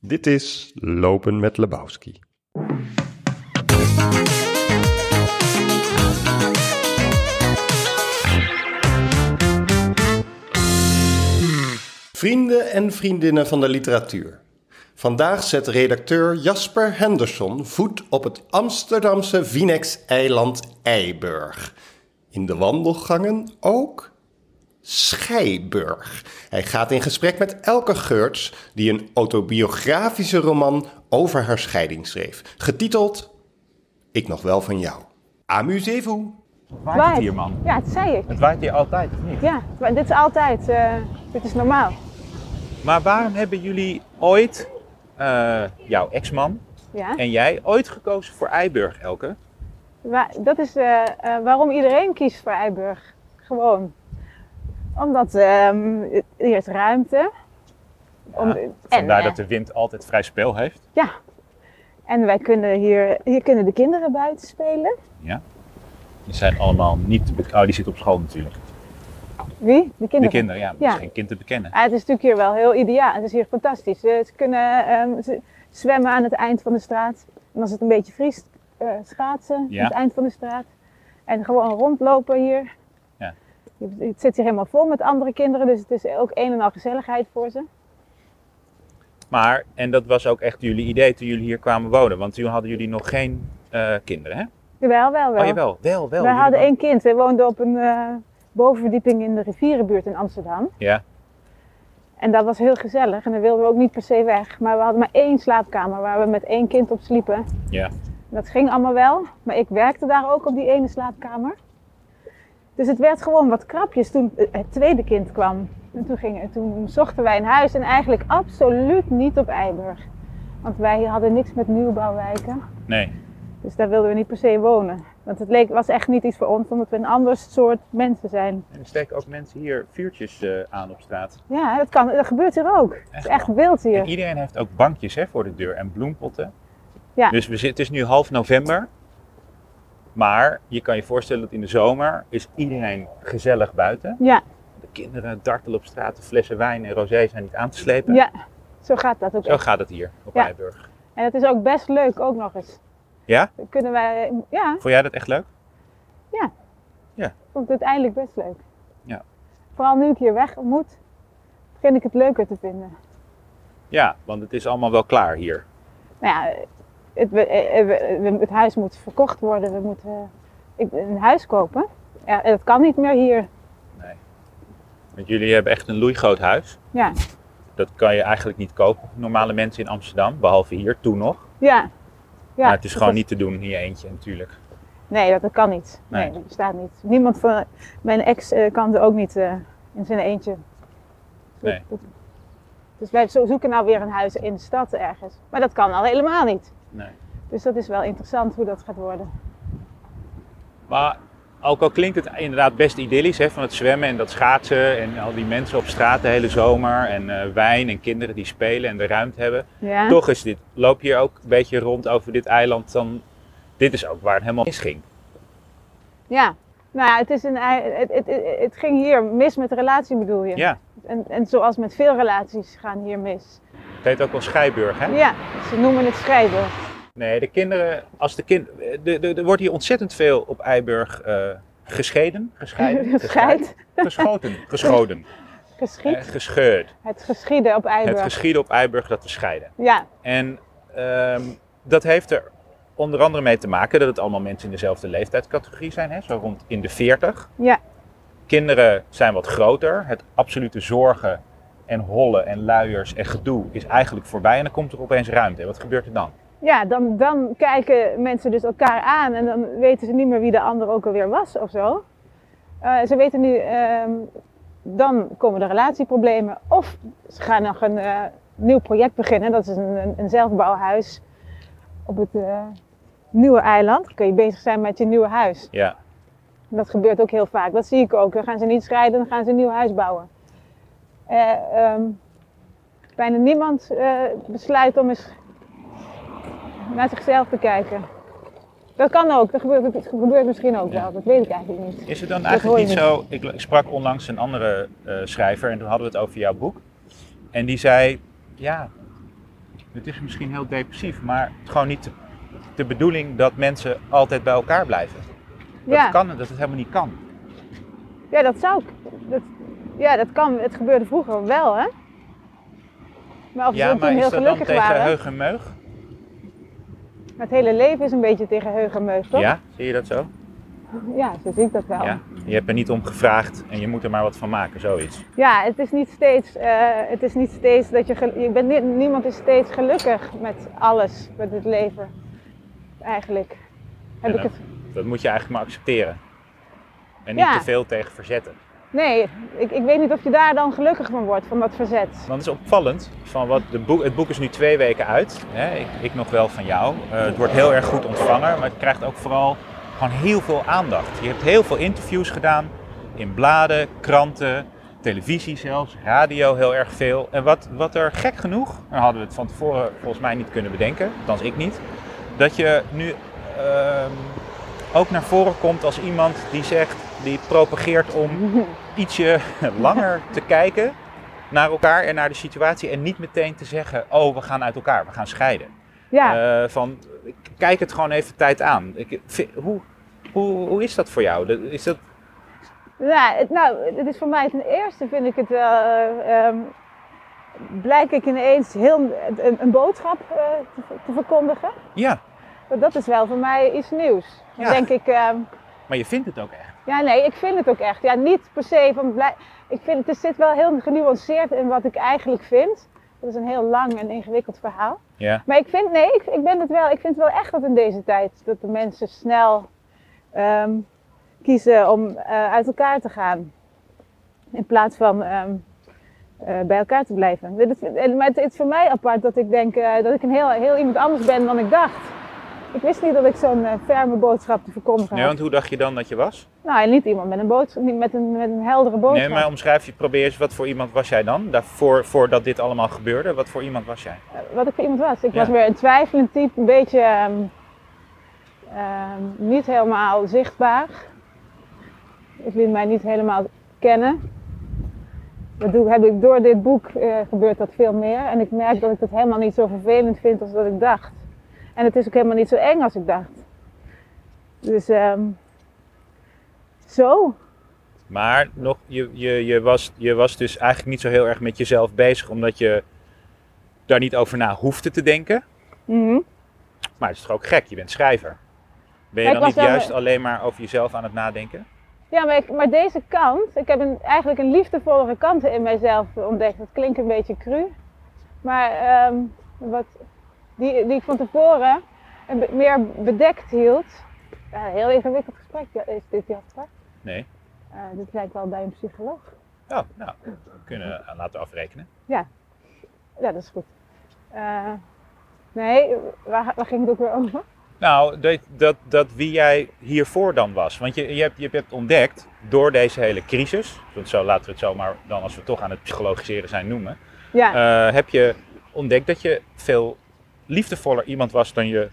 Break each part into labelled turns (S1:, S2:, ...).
S1: Dit is Lopen met Lebowski. Vrienden en vriendinnen van de literatuur. Vandaag zet redacteur Jasper Henderson voet op het Amsterdamse Vinex-eiland Eiburg. In de wandelgangen ook Scheiburg. Hij gaat in gesprek met Elke Geurts, die een autobiografische roman over haar scheiding schreef. Getiteld Ik nog wel van jou. Amusez-vous.
S2: Waait het hier, man?
S3: Ja, dat zei ik.
S2: Het waait hier altijd, of niet?
S3: Ja, maar dit is altijd, eh, dit is normaal.
S2: Maar waarom hebben jullie ooit, eh, jouw ex-man
S3: Ja.
S2: en jij, ooit gekozen voor Eiburg, Elke?
S3: Wa- dat is eh, eh, waarom iedereen kiest voor Eiburg. Gewoon. Omdat ehm, hier is ruimte. Om, en,
S2: Vandaar
S3: eh,
S2: dat de wind altijd vrij spel heeft.
S3: Ja. En wij kunnen hier, hier kunnen de kinderen buiten spelen.
S2: Die zijn allemaal niet te bekennen. Oh, die zitten op school natuurlijk.
S3: Wie? De kinderen.
S2: De kinderen, ja. Dat is
S3: Ja.
S2: geen kind te bekennen.
S3: Ah, het is natuurlijk hier wel heel ideaal. Het is hier fantastisch. Eh, ze kunnen ehm, ze zwemmen aan het eind van de straat. En als het een beetje vriest, eh, schaatsen
S2: Ja.
S3: aan het eind van de straat. En gewoon rondlopen hier.
S2: Ja.
S3: Je- Het zit hier helemaal vol met andere kinderen, dus het is ook een en al gezelligheid voor ze.
S2: Maar, en dat was ook echt jullie idee toen jullie hier kwamen wonen. Want toen hadden jullie nog geen eh, kinderen, hè?
S3: Jawel, wel, wel.
S2: Oh, jawel. Wel, wel.
S3: Wij
S2: Jullie
S3: hadden
S2: wa-
S3: één kind. Wij woonden op een eh, bovenverdieping in de rivierenbuurt in Amsterdam.
S2: Ja.
S3: En dat was heel gezellig en dan wilden we ook niet per se weg. Maar we hadden maar één slaapkamer waar we met één kind op sliepen.
S2: Ja.
S3: Dat ging allemaal wel, maar ik werkte daar ook op die ene slaapkamer. Dus het werd gewoon wat krapjes toen het het tweede kind kwam. En toen, gingen, toen zochten wij een huis en eigenlijk absoluut niet op Eiburg. Want wij hadden niks met nieuwbouwwijken.
S2: Nee.
S3: Dus daar wilden we niet per se wonen. Want het leek, was echt niet iets voor ons, omdat we een ander soort mensen zijn.
S2: En er steken ook mensen hier vuurtjes eh, aan op straat.
S3: Ja, dat, kan, dat gebeurt hier ook. Het
S2: Echt
S3: is echt wild hier.
S2: En iedereen heeft ook bankjes hè, voor de deur en bloempotten.
S3: Ja.
S2: Dus we zitten, het is nu half november. Maar je kan je voorstellen dat in de zomer is iedereen gezellig buiten.
S3: Ja,
S2: De kinderen dartelen op straat, de flessen wijn en rosé zijn niet aan te slepen.
S3: ja, zo gaat dat ook.
S2: Zo gaat het hier op
S3: Ja.
S2: Eiburg.
S3: En het is ook best leuk, ook nog eens.
S2: Ja?
S3: Dan Kunnen wij, ja,
S2: Vond jij dat echt leuk?
S3: ik vond het uiteindelijk best leuk.
S2: Ja.
S3: Vooral nu ik hier weg moet, begin ik het leuker te vinden.
S2: Ja, want het is allemaal wel klaar hier.
S3: Nou ja, het, we- eh, we- we- het huis moet verkocht worden. We moeten eh, ik- een huis kopen. Ja, en dat kan niet meer hier.
S2: Want jullie hebben echt een loeigroot huis.
S3: Ja.
S2: Dat kan je eigenlijk niet kopen, normale mensen in Amsterdam, behalve hier toen nog.
S3: Ja. ja
S2: maar het is
S3: dat
S2: gewoon niet te doen in je eentje natuurlijk.
S3: Nee, dat, dat kan niet. Nee.
S2: Nee.
S3: dat bestaat niet. Niemand van mijn ex eh, kan er ook niet eh, in zijn eentje.
S2: Nee.
S3: Dus wij zo- zoeken nou weer een huis in de stad ergens. Maar dat kan al helemaal niet.
S2: Nee.
S3: Dus dat is wel interessant hoe dat gaat worden.
S2: Maar ook al klinkt het inderdaad best idyllisch, hè, van het zwemmen en dat schaatsen en al die mensen op straat de hele zomer en eh, wijn en kinderen die spelen en de ruimte hebben.
S3: Ja.
S2: Toch is dit, loop je hier ook een beetje rond over dit eiland, dan, dit is ook waar het helemaal misging.
S3: Ja. Nou ja, het, is een, ei- het, het, het, het ging hier mis met de relatie bedoel je.
S2: Ja,
S3: En, en zoals met veel relaties gaan hier mis.
S2: het heet ook wel Scheiburg, hè?
S3: Ja, ze noemen het schrijven.
S2: Nee, de kinderen, als de kind, de- de- er wordt hier ontzettend veel op Eiburg eh, gescheiden, gescheiden,
S3: Gescheit,
S2: geschoten, geschoden, eh,
S3: geschied.
S2: gescheurd.
S3: Het geschieden op
S2: Het
S3: Eiburg.
S2: geschieden op Eiburg dat we scheiden.
S3: ja,
S2: En ehm, dat heeft er onder andere mee te maken dat het allemaal mensen in dezelfde leeftijdscategorie zijn, hè? zo rond in de 40.
S3: Ja.
S2: Kinderen zijn wat groter. Het absolute zorgen en hollen en luiers en gedoe is eigenlijk voorbij en dan komt er opeens ruimte. En wat gebeurt er dan?
S3: ja dan, dan kijken mensen dus elkaar aan en dan weten ze niet meer wie de ander ook alweer was of zo. Eh, ze weten nu, ehm, dan komen de relatieproblemen. Of ze gaan nog een eh, nieuw project beginnen. Dat is een, een, een zelfbouwhuis op het eh, nieuwe eiland. Dan kun je bezig zijn met je nieuwe huis.
S2: Ja,
S3: Dat gebeurt ook heel vaak. Dat zie ik ook. Dan gaan ze niet scheiden, dan gaan ze een nieuw huis bouwen. Eh, ehm, bijna niemand eh, besluit om eens naar zichzelf te kijken. Dat kan ook. Dat gebeurt, dat gebeurt misschien ook
S2: Ja.
S3: wel. Dat weet ik eigenlijk niet.
S2: Is het dan
S3: hoor
S2: eigenlijk
S3: je
S2: niet
S3: niet.
S2: zo? Ik ik sprak onlangs een andere eh, schrijver en toen hadden we het over jouw boek. En die zei: Ja, het is misschien heel depressief, maar het is gewoon niet de, de bedoeling dat mensen altijd bij elkaar blijven. Dat,
S3: Ja.
S2: het kan, en dat het helemaal niet kan.
S3: Ja, dat zou ik. Dat, ja, dat kan. Het gebeurde vroeger wel, hè? Maar of ze
S2: ja,
S3: ook
S2: maar
S3: toen
S2: is dat
S3: heel
S2: dan
S3: gelukkig
S2: tegen
S3: waren.
S2: heug en meug?
S3: Maar het hele leven is een beetje tegen heug en meug, toch? Nou.
S2: Ja, zie je dat zo?
S3: Ja, zo zie ik dat wel.
S2: Ja. Je hebt er niet om gevraagd en je moet er maar wat van maken, zoiets.
S3: Ja, het is niet steeds, eh, het is niet steeds dat je, gel- je bent niet, niemand is steeds gelukkig met alles, met het leven. Eigenlijk. Heb
S2: Ja.
S3: ik het.
S2: Dat moet je eigenlijk maar accepteren. En niet
S3: Ja.
S2: te veel tegen verzetten.
S3: Nee, ik, ik weet niet of je daar dan gelukkig van wordt, van dat verzet.
S2: Dan is opvallend van wat de boek, het boek is nu twee weken uit. Hè, ik, ik nog wel van jou. Eh, het wordt heel erg goed ontvangen, maar het krijgt ook vooral gewoon heel veel aandacht. Je hebt heel veel interviews gedaan in bladen, kranten, televisie zelfs, radio heel erg veel. En wat, wat er gek genoeg, daar hadden we het van tevoren volgens mij niet kunnen bedenken, althans ik niet, dat je nu ehm, ook naar voren komt als iemand die zegt, die propageert om ietsje langer te kijken naar elkaar en naar de situatie. En niet meteen te zeggen, oh, we gaan uit elkaar, we gaan scheiden.
S3: Ja.
S2: Eh, van, k- kijk het gewoon even tijd aan. Ik, vi- hoe, hoe, hoe is dat voor jou? Dat- Is dat,
S3: Ja, het, nou, het is voor mij ten eerste vind ik het wel. eh, ehm, blijk ik ineens heel, een, een boodschap eh, te, te verkondigen.
S2: ja,
S3: Want Dat is wel voor mij iets nieuws. Dan
S2: Ja.
S3: denk ik, ehm,
S2: maar je vindt het ook echt.
S3: ja, nee, ik vind het ook echt. Ja, niet per se van blij. Ik vind het zit wel heel genuanceerd in wat ik eigenlijk vind. Dat is een heel lang en ingewikkeld verhaal.
S2: Ja,
S3: Maar ik vind, nee, ik, ik ben het wel. Ik vind het wel echt dat in deze tijd dat de mensen snel ehm, kiezen om eh, uit elkaar te gaan. In plaats van ehm, eh, bij elkaar te blijven. Dit is- en- maar het, het is voor mij apart dat ik denk eh, dat ik een heel, heel iemand anders ben dan ik dacht. Ik wist niet dat ik zo'n eh, ferme boodschap te verkondigen
S2: nee,
S3: had.
S2: want hoe dacht je dan dat je was?
S3: Nou, en niet iemand met een, boodschap, niet met een, met een heldere boodschap.
S2: Nee, maar omschrijf je, probeer eens, wat voor iemand was jij dan? Daarvoor, voordat dit allemaal gebeurde, wat voor iemand was jij?
S3: Eh, Wat ik voor iemand was. Ik
S2: Ja.
S3: was weer een twijfelend type, een beetje ehm, ehm, niet helemaal zichtbaar. Ik liet mij niet helemaal kennen. Dat doe, heb ik, door dit boek eh, gebeurt dat veel meer. En ik merk dat ik dat helemaal niet zo vervelend vind als dat ik dacht. En het is ook helemaal niet zo eng als ik dacht. Dus ehm, zo.
S2: Maar nog, je, je, je, was, je was dus eigenlijk niet zo heel erg met jezelf bezig, omdat je daar niet over na hoefde te denken.
S3: Mhm.
S2: Maar het is toch ook gek, je bent schrijver. Ben je
S3: Ja, ik
S2: dan
S3: was
S2: niet
S3: wel-
S2: juist alleen maar over jezelf aan het nadenken?
S3: Ja, maar, ik- maar deze kant, ik heb een, eigenlijk een liefdevollere kant in mijzelf ontdekt. Dat klinkt een beetje cru, maar ehm, wat, die, die ik van tevoren een be- meer bedekt hield. Ja, een heel ingewikkeld gesprek ja, is dit, Jasper.
S2: Nee.
S3: Eh, dit lijkt wel bij een psycholoog.
S2: Oh, nou, we kunnen eh, laten afrekenen.
S3: Ja, dat is goed. Eh, nee, waar, waar ging het ook weer over?
S2: Nou, dat, dat, dat wie jij hiervoor dan was. Want je, je, hebt, je hebt ontdekt door deze hele crisis, want zo laten we het zomaar dan als we toch aan het psychologiseren zijn noemen,
S3: Ja,
S2: eh, heb je ontdekt dat je veel liefdevoller iemand was dan je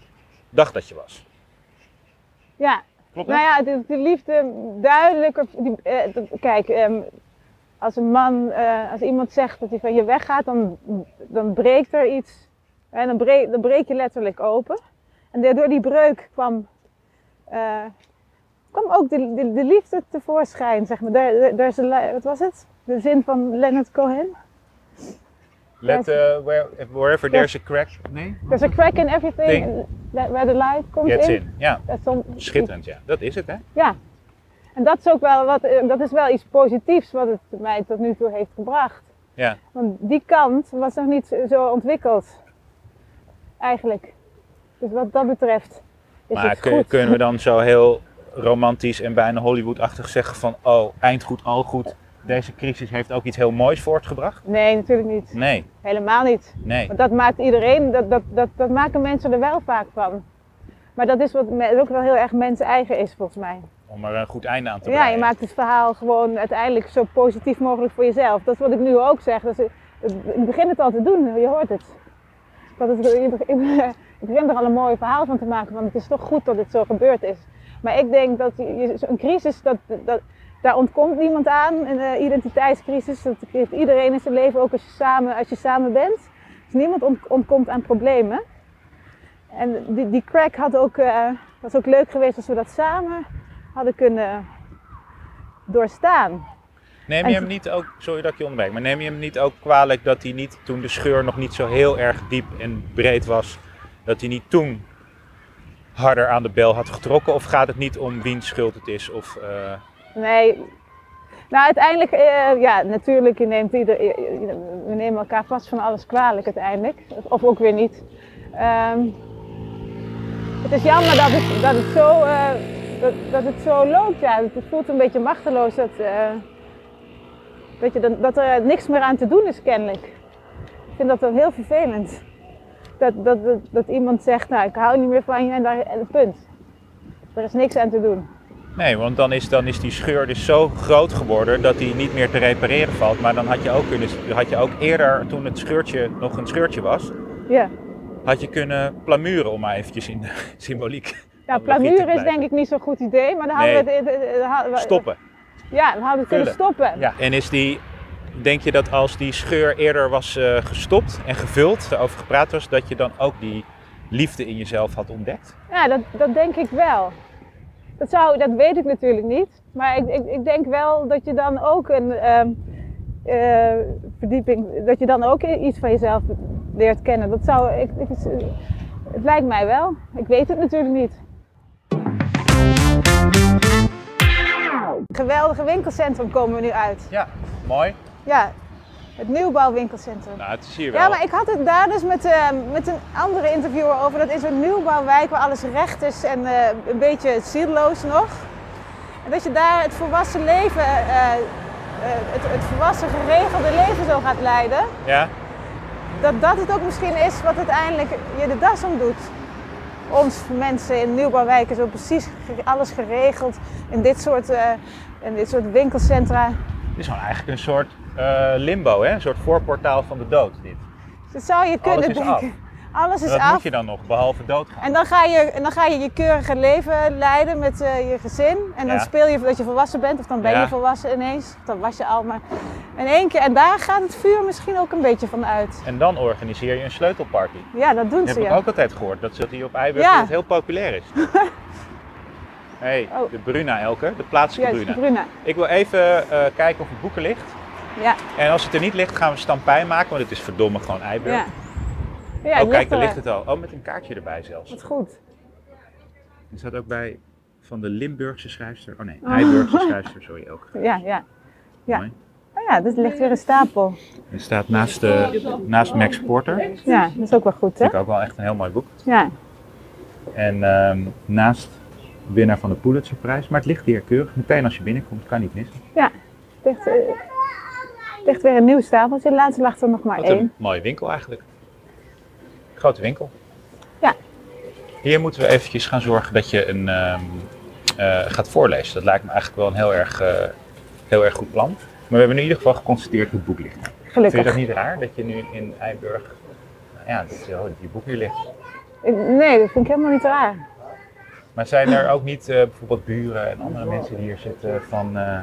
S2: dacht dat je was.
S3: ja.
S2: Klopt dat?
S3: Nou ja, de, de liefde duidelijker. Die, eh, dat- kijk, ehm, als een man, eh, als iemand zegt dat hij van je weggaat, dan, dan breekt er iets. En dan, breek, dan breek je letterlijk open. En da- door die breuk kwam, eh, kwam ook de, de, de liefde tevoorschijn, zeg maar. Daar, daar- daar is de, li- wat was het? De zin van Leonard Cohen.
S2: Let, eh, where, wherever there's a crack. Nee?
S3: There's a crack in everything
S2: Ding.
S3: that- where the light comes
S2: Gets
S3: in.
S2: in. Ja,
S3: Dat is dan-
S2: schitterend, ja. Dat is het, hè?
S3: Ja, en dat is ook wel, wat, eh, dat is wel iets positiefs wat het mij tot nu toe heeft gebracht.
S2: Ja.
S3: Want die kant was nog niet zo ontwikkeld, eigenlijk. Dus wat dat betreft is
S2: Maar
S3: het
S2: kun-
S3: goed.
S2: kunnen we dan zo heel romantisch en bijna Hollywood-achtig zeggen van oh, eind goed, al goed. Deze crisis heeft ook iets heel moois voortgebracht?
S3: Nee, natuurlijk niet.
S2: Nee,
S3: Helemaal niet.
S2: nee.
S3: Want dat maakt iedereen, dat, dat, dat, dat maken mensen er wel vaak van. Maar dat is wat me- ook wel heel erg mens eigen is, volgens mij.
S2: Om er een goed einde aan te
S3: Ja,
S2: breien.
S3: je maakt het verhaal gewoon uiteindelijk zo positief mogelijk voor jezelf. Dat is wat ik nu ook zeg. Dus, eh, ik begin het al te doen, je hoort het. Dat het je beg- ik begin er al een mooi verhaal van te maken, want het is toch goed dat het zo gebeurd is. Maar ik denk dat je- een crisis, dat, dat, daar ontkomt niemand aan. Een eh, identiteitscrisis, dat heeft iedereen in zijn leven, ook als je samen, als je samen bent. Het is niemand ont- ontkomt aan problemen. En die, die crack had ook, eh, was ook leuk geweest als we dat samen hadden kunnen doorstaan.
S2: Neem je hem niet ook, sorry dat ik je onderbreek, maar neem je hem niet ook kwalijk dat hij niet, toen de scheur nog niet zo heel erg diep en breed was, dat hij niet toen harder aan de bel had getrokken? Of gaat het niet om wiens schuld het is? Of, eh,
S3: Nee. Nou, uiteindelijk, eh, ja, natuurlijk, je neemt ieder, je- je- we nemen elkaar vast van alles kwalijk uiteindelijk. Of ook weer niet. Ehm, het is jammer dat het, dat het, zo, eh, dat, dat het zo loopt. Ja. Het voelt een beetje machteloos dat, eh, dat, je dan, dat er niks meer aan te doen is, kennelijk. Ik vind dat wel heel vervelend. Dat, dat, dat, dat iemand zegt, nou, ik hou niet meer van je en daar, en punt. Er is niks aan te doen.
S2: nee, want dan is, dan is die scheur dus zo groot geworden dat hij niet meer te repareren valt. Maar dan had je ook, kunnen, had je ook eerder, toen het scheurtje nog een scheurtje was,
S3: Ja.
S2: had je kunnen plamuren, om maar eventjes in de symboliek.
S3: Nou,
S2: analogie te
S3: plamuren is
S2: blijven.
S3: denk ik niet zo'n goed idee, maar dan hadden we
S2: Nee.
S3: het- het... het- hadden we-
S2: Stoppen.
S3: Ja, dan hadden we het kunnen
S2: Vullen.
S3: stoppen.
S2: Ja. En is die, denk je dat als die scheur eerder was eh, gestopt en gevuld, erover gepraat was, dat je dan ook die liefde in jezelf had ontdekt?
S3: Ja, dat, dat denk ik wel. Dat, zou, dat weet ik natuurlijk niet, maar ik, ik, ik denk wel dat je dan ook een ehm, eh, verdieping, dat je dan ook iets van jezelf leert kennen. Dat zou, ik, ik- het lijkt mij wel. Ik weet het natuurlijk niet. Geweldige winkelcentrum komen we nu uit.
S2: Ja, mooi.
S3: Ja, het nieuwbouwwinkelcentrum.
S2: Nou, het is hier wel.
S3: Ja, maar ik had het daar dus met, eh, met een andere interviewer over. Dat is een nieuwbouwwijk waar alles recht is en eh, een beetje zieloos nog. En dat je daar het volwassen leven, eh, eh, het, het volwassen geregelde leven zo gaat leiden.
S2: Ja?
S3: Dat dat het ook misschien is wat uiteindelijk je de das om doet. Ons mensen in nieuwbouwwijken zo precies ge- alles geregeld in dit soort, eh, in dit soort winkelcentra. Dus
S2: Het is gewoon eigenlijk een soort eh, limbo, hè? een soort voorportaal van de dood. Dit.
S3: Dat zou je kunnen
S2: Alles is af.
S3: denken. Alles is
S2: Dat
S3: af.
S2: moet je dan nog, behalve doodgaan.
S3: En dan ga je en dan ga je, je keurige leven leiden met eh, je gezin. En dan
S2: Ja.
S3: speel je dat je volwassen bent, of dan ben
S2: Ja.
S3: je volwassen ineens. Of Dan was je al maar in één keer. En daar gaat het vuur misschien ook een beetje van uit.
S2: En dan organiseer je een sleutelparty.
S3: Ja, dat doen
S2: Dat
S3: ze
S2: heb ik
S3: ja.
S2: ook altijd gehoord, dat ze hier op Eiburg
S3: Ja.
S2: dat het heel populair is. hey,
S3: Oh.
S2: de Bruna Elke, de plaatselijke
S3: Juist,
S2: Bruna.
S3: Bruna.
S2: Ik wil even eh, kijken of het boeken ligt.
S3: Ja,
S2: En als het er niet ligt, gaan we stampijn maken, want het is verdomme gewoon Eiburg.
S3: ja. Ja,
S2: oh, kijk, daar ligt
S3: het.
S2: het al. Oh, met een kaartje erbij zelfs.
S3: Wat goed.
S2: Er staat ook bij van de Limburgse schrijfster. Oh nee, Eiburgse schrijfster, sorry ook.
S3: Ja, ja. Ja.
S2: Mooi.
S3: Oh ja, er ligt weer een stapel.
S2: Er staat naast, de, naast Max Porter. Vind
S3: Ja, dat is ook wel goed, hè?
S2: ik ook wel echt een heel mooi boek.
S3: Ja.
S2: En ehm, naast winnaar van de Pulitzerprijs. Maar het ligt hier keurig. Meteen als je binnenkomt, kan niet missen.
S3: Het ligt, eh, het ligt weer een nieuw stapeltje. Laatst lag er nog maar
S2: Wat een
S3: één.
S2: mooie winkel eigenlijk. Grote winkel.
S3: Ja.
S2: Hier moeten we eventjes gaan zorgen dat je een, ehm, eh, gaat voorlezen. Dat lijkt me eigenlijk wel een heel erg, eh, heel erg goed plan. Maar we hebben in ieder geval geconstateerd hoe het boek ligt. Vind je
S3: Gelukkig.
S2: dat niet raar dat je nu in Eiburg, nou ja, dat je, je boek hier ligt.
S3: Ik- Nee, dat vind ik helemaal niet raar.
S2: Maar zijn er ook niet eh, bijvoorbeeld buren en andere mensen die hier zitten van, eh,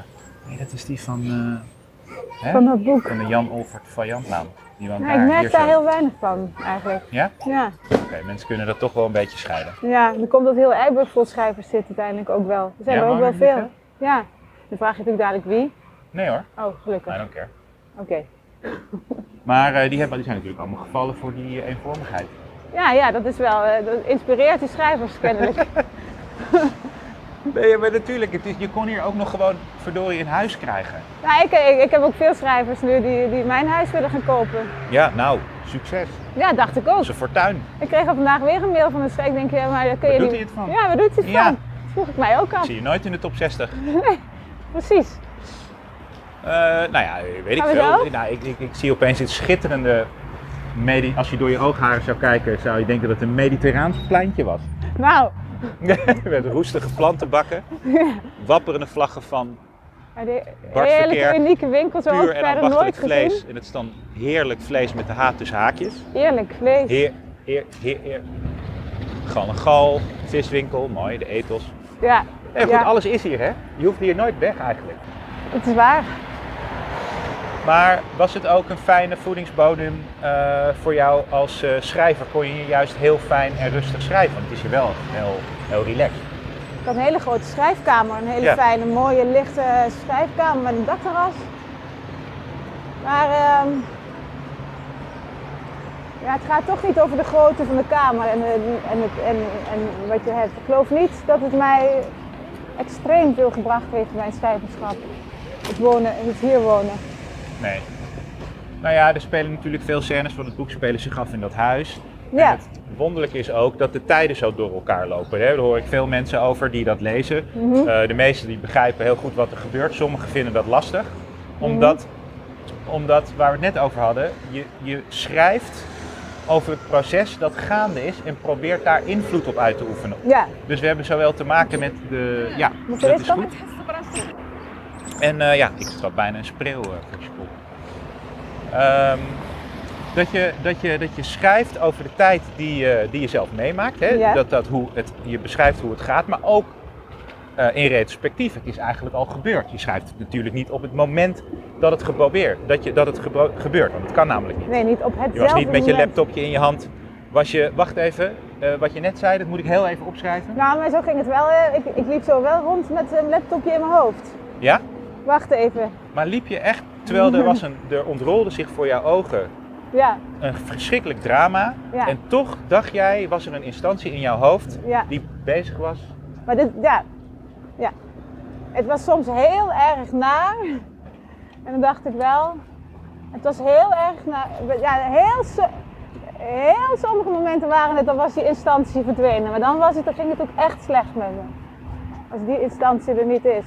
S2: nee dat is die van, eh, hè?
S3: Van dat boek.
S2: van de Jan Olvert van Jantlaan. Die woont
S3: Ja,
S2: daar,
S3: ik
S2: hier
S3: merk daar
S2: zo.
S3: heel weinig van, eigenlijk.
S2: Ja?
S3: Ja,
S2: Oké, mensen kunnen dat toch wel een beetje scheiden.
S3: ja dan komt dat heel Eiburg vol schrijvers zit uiteindelijk ook wel. Er zijn
S2: Ja,
S3: er ook
S2: maar
S3: wel
S2: niet,
S3: veel. Ja, dan vraag je natuurlijk dadelijk wie.
S2: Nee hoor,
S3: Oh, gelukkig.
S2: I
S3: Oké.
S2: don't care. Maar eh, die, hebben, die zijn natuurlijk allemaal gevallen voor die eh, eenvormigheid.
S3: Ja, ja, dat is wel. eh, dat inspireert die schrijvers kennelijk.
S2: Nee, maar natuurlijk, het is, je kon hier ook nog gewoon verdorie een huis krijgen.
S3: nou, ik, ik, ik heb ook veel schrijvers nu die, die mijn huis willen gaan kopen.
S2: Ja, nou, succes.
S3: Ja, dacht ik ook.
S2: Dat is een fortuin.
S3: Ik kreeg al vandaag weer een mail van een schrijver. Ik denk, ja, maar daar kun
S2: Waar
S3: je
S2: doet hij
S3: niet.
S2: het van?
S3: Ja, waar doet hij het
S2: Ja.
S3: van? Dat vroeg ik mij ook af.
S2: Zie je nooit in de top 60.
S3: Precies.
S2: Eh, nou ja, weet ik
S3: Gaan we
S2: veel.
S3: zo?
S2: Nou, ik, ik, ik zie opeens dit schitterende... medi- Als je door je oogharen zou kijken, zou je denken dat het een mediterraans pleintje was.
S3: Nou,
S2: Met roestige plantenbakken, wapperende vlaggen van
S3: maar die
S2: Bart
S3: heerlijke,
S2: Verkerk,
S3: unieke winkels, zo ook
S2: puur en
S3: verder nooit
S2: ambachtelijk vlees.
S3: gezien.
S2: En het is dan heerlijk vlees met de haat tussen haakjes.
S3: Eerlijk vlees.
S2: Heer, heer, heer, heer. Gal en gal, viswinkel, mooi, de etels.
S3: Ja.
S2: En goed,
S3: ja.
S2: alles is hier, hè? Je hoeft hier nooit weg eigenlijk.
S3: Het is waar.
S2: Maar was het ook een fijne voedingsbodem eh, voor jou als eh, schrijver? Kon je hier juist heel fijn en rustig schrijven? Want het is hier wel heel, heel relaxed.
S3: Ik had een hele grote schrijfkamer, een hele
S2: Ja.
S3: fijne, mooie, lichte schrijfkamer met een dakterras. Maar ehm, ja, het gaat toch niet over de grootte van de kamer en, de- en, het, en, en wat je hebt. Ik geloof niet dat het mij extreem veel gebracht heeft, mijn schrijverschap. Het, wonen, het hier wonen.
S2: Nee. Nou ja, er spelen natuurlijk veel scènes van het boek spelen zich af in dat huis.
S3: Ja.
S2: En het wonderlijke is ook dat de tijden zo door elkaar lopen. Hè? Daar hoor ik veel mensen over die dat lezen.
S3: Mhm.
S2: Eh, de meesten die begrijpen heel goed wat er gebeurt. Sommigen vinden dat lastig.
S3: Mhm.
S2: Omdat, omdat waar we het net over hadden, je, je schrijft over het proces dat gaande is en probeert daar invloed op uit te oefenen.
S3: Ja,
S2: Dus we hebben zowel te maken met de... Ja,
S3: moet je
S2: dat
S3: dit
S2: is
S3: stappen?
S2: goed. En eh, ja, ik had bijna een spreeuw eh, voor je kop. Ehm, dat, je, dat, je, dat je schrijft over de tijd die, je- die je zelf meemaakt. Hè?
S3: Ja.
S2: Dat, dat hoe het, je beschrijft hoe het gaat, maar ook eh, in retrospectief. Het is eigenlijk al gebeurd. Je schrijft het natuurlijk niet op het moment dat het, geprobeerd, dat je, dat het gebro- gebeurt. Want het kan namelijk niet.
S3: Nee, niet op
S2: Je
S3: hetzelfde
S2: was niet met je
S3: moment.
S2: laptopje in je hand. Was je, wacht even, eh, wat je net zei, dat moet ik heel even opschrijven.
S3: Nou, maar zo ging het wel. hè. Ik, ik liep zo wel rond met een laptopje in mijn hoofd.
S2: Ja?
S3: Wacht even.
S2: Maar liep je echt, terwijl er, was een, er ontrolde zich voor jouw ogen
S3: Ja,
S2: een verschrikkelijk drama.
S3: Ja.
S2: En toch dacht jij, was er een instantie in jouw hoofd
S3: ja.
S2: die bezig was.
S3: Maar dit, ja, ja. Het was soms heel erg naar. En dan dacht ik wel. Het was heel erg naar. Ja, heel, so- heel sommige momenten waren het, dan was die instantie verdwenen. Maar dan, was het, dan ging het ook echt slecht met me. Als die instantie er niet is.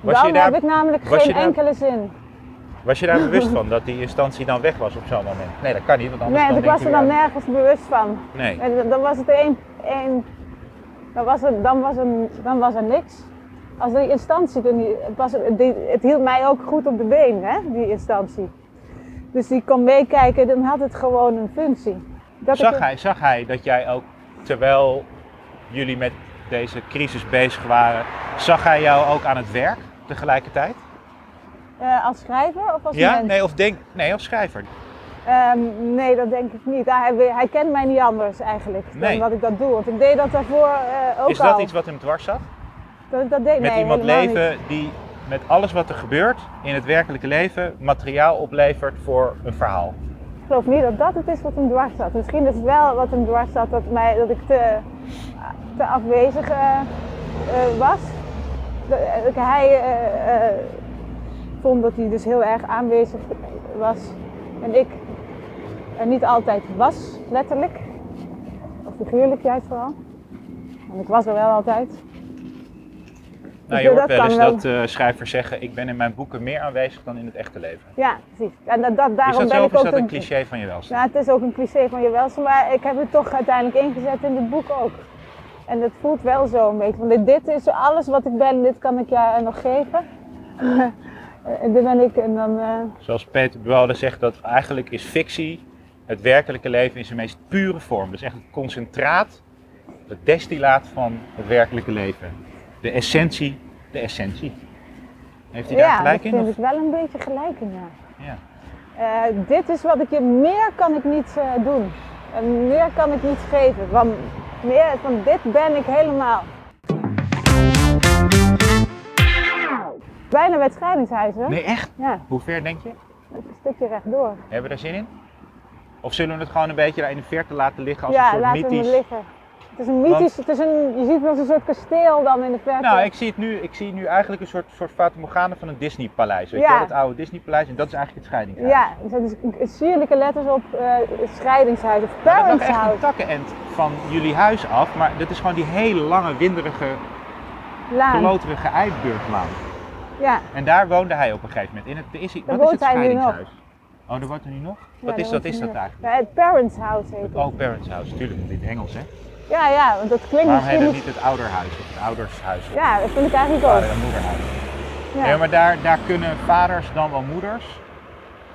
S2: Was
S3: dan
S2: je daar-
S3: heb ik namelijk
S2: was je
S3: geen
S2: daar-
S3: enkele zin.
S2: Was je daar bewust van dat die instantie dan weg was op zo'n moment? Nee, dat kan niet, want anders
S3: Nee,
S2: dan
S3: ik
S2: denkt
S3: was er
S2: u
S3: dan
S2: aan-
S3: nergens bewust van.
S2: Nee.
S3: En dan- dan was het één. één dan, was er, dan, was er, dan was er niks. Als die instantie toen die, het, was, die, het hield mij ook goed op de been, hè, die instantie. Dus die kon meekijken, dan had het gewoon een functie. Dat
S2: Zag
S3: ik-
S2: hij, zag hij dat jij ook, terwijl jullie met deze crisis bezig waren, zag hij jou ook aan het werk tegelijkertijd?
S3: eh, als schrijver of als
S2: Ja?
S3: mens?
S2: Nee, of denk, nee, als schrijver.
S3: Ehm, nee, dat denk ik niet. Hij, hij kent mij niet anders eigenlijk dan
S2: Nee.
S3: dat ik dat doe. Want ik deed dat daarvoor eh, ook
S2: Is dat
S3: al.
S2: iets wat hem dwars zat?
S3: Dat ik dat deed?
S2: met
S3: nee,
S2: iemand
S3: helemaal niet.
S2: leven die met alles wat er gebeurt in het werkelijke leven materiaal oplevert voor een verhaal.
S3: Ik geloof niet dat dat het is wat hem dwars zat. Misschien is het wel wat hem dwars zat dat, mij, dat ik te, te afwezig eh, eh, was. Dat, eh, dat hij eh, eh, vond dat hij dus heel erg aanwezig was en ik er niet altijd was, letterlijk. Of figuurlijk juist vooral. Want ik was er wel altijd.
S2: Nou, je
S3: bedoel,
S2: hoort
S3: dat
S2: wel eens
S3: kan wel.
S2: dat eh, schrijvers zeggen: Ik ben in mijn boeken meer aanwezig dan in het echte leven.
S3: Ja, precies. En dat, dat, daarom
S2: Is dat
S3: ben
S2: zo
S3: ik
S2: of is
S3: ook
S2: dat een
S3: een-
S2: cliché van je welzijn?
S3: Ja, Nou, het is ook een cliché van je welzijn, maar ik heb het toch uiteindelijk ingezet in dit boek ook. En dat voelt wel zo een beetje. Want dit- dit is alles wat ik ben, dit kan ik je nog geven. en dit ben ik en dan. eh,
S2: Zoals Peter Buwalda zegt, dat eigenlijk is fictie het werkelijke leven in zijn meest pure vorm. Dus echt het concentraat, het destillaat van het werkelijke leven. De essentie, de essentie. Heeft hij daar
S3: ja,
S2: gelijk
S3: dat
S2: in?
S3: vind
S2: of-
S3: ik wel een beetje gelijk in. Ja.
S2: Ja.
S3: Eh, dit is wat ik je meer kan ik niet eh, doen. En meer kan ik niet geven. Want, meer, want dit ben ik helemaal. Bijna bij het scheidingshuis, hè?
S2: Nee, echt?
S3: Ja,
S2: Hoe ver denk je?
S3: een stukje rechtdoor.
S2: Hebben we daar zin in? Of zullen we het gewoon een beetje daar in de verte laten liggen als
S3: ja,
S2: een soort
S3: laten we
S2: mythisch...
S3: hem liggen. Het is een mythisch, het is een, je ziet het als een soort kasteel dan in de verte.
S2: Nou, ik zie, het nu, ik zie nu eigenlijk een soort, soort Fata Morgana van een Disney-paleis. Weet
S3: Ja.
S2: je wel, het oude Disney-paleis. En dat is eigenlijk het scheidingshuis.
S3: ja, er zitten dus sierlijke letters op eh, het scheidingshuis of
S2: Maar dat mag echt een
S3: parents'
S2: takkenend van jullie huis af. Maar dat is gewoon die hele lange, winderige,
S3: Laan.
S2: kloterige eiburglaan.
S3: Ja,
S2: En daar woonde hij op een gegeven moment. In het, is hij,
S3: Daar
S2: wat is het
S3: woont hij nu nog.
S2: scheidingshuis? Oh, daar woont hij nu nog? wat is dat, is dat eigenlijk?
S3: Ja, het parents' house heet het.
S2: Oh, parents house. Tuurlijk, want dit Engels, hè?
S3: Ja, ja, want dat klinkt
S2: Waarom heet
S3: misschien
S2: dat
S3: niet-
S2: niet het ouderhuis of het oudershuis? Of
S3: Ja, dat vind ik eigenlijk
S2: vader-
S3: ook.
S2: en moederhuis?
S3: Ja.
S2: Nee, maar daar, daar kunnen vaders dan wel moeders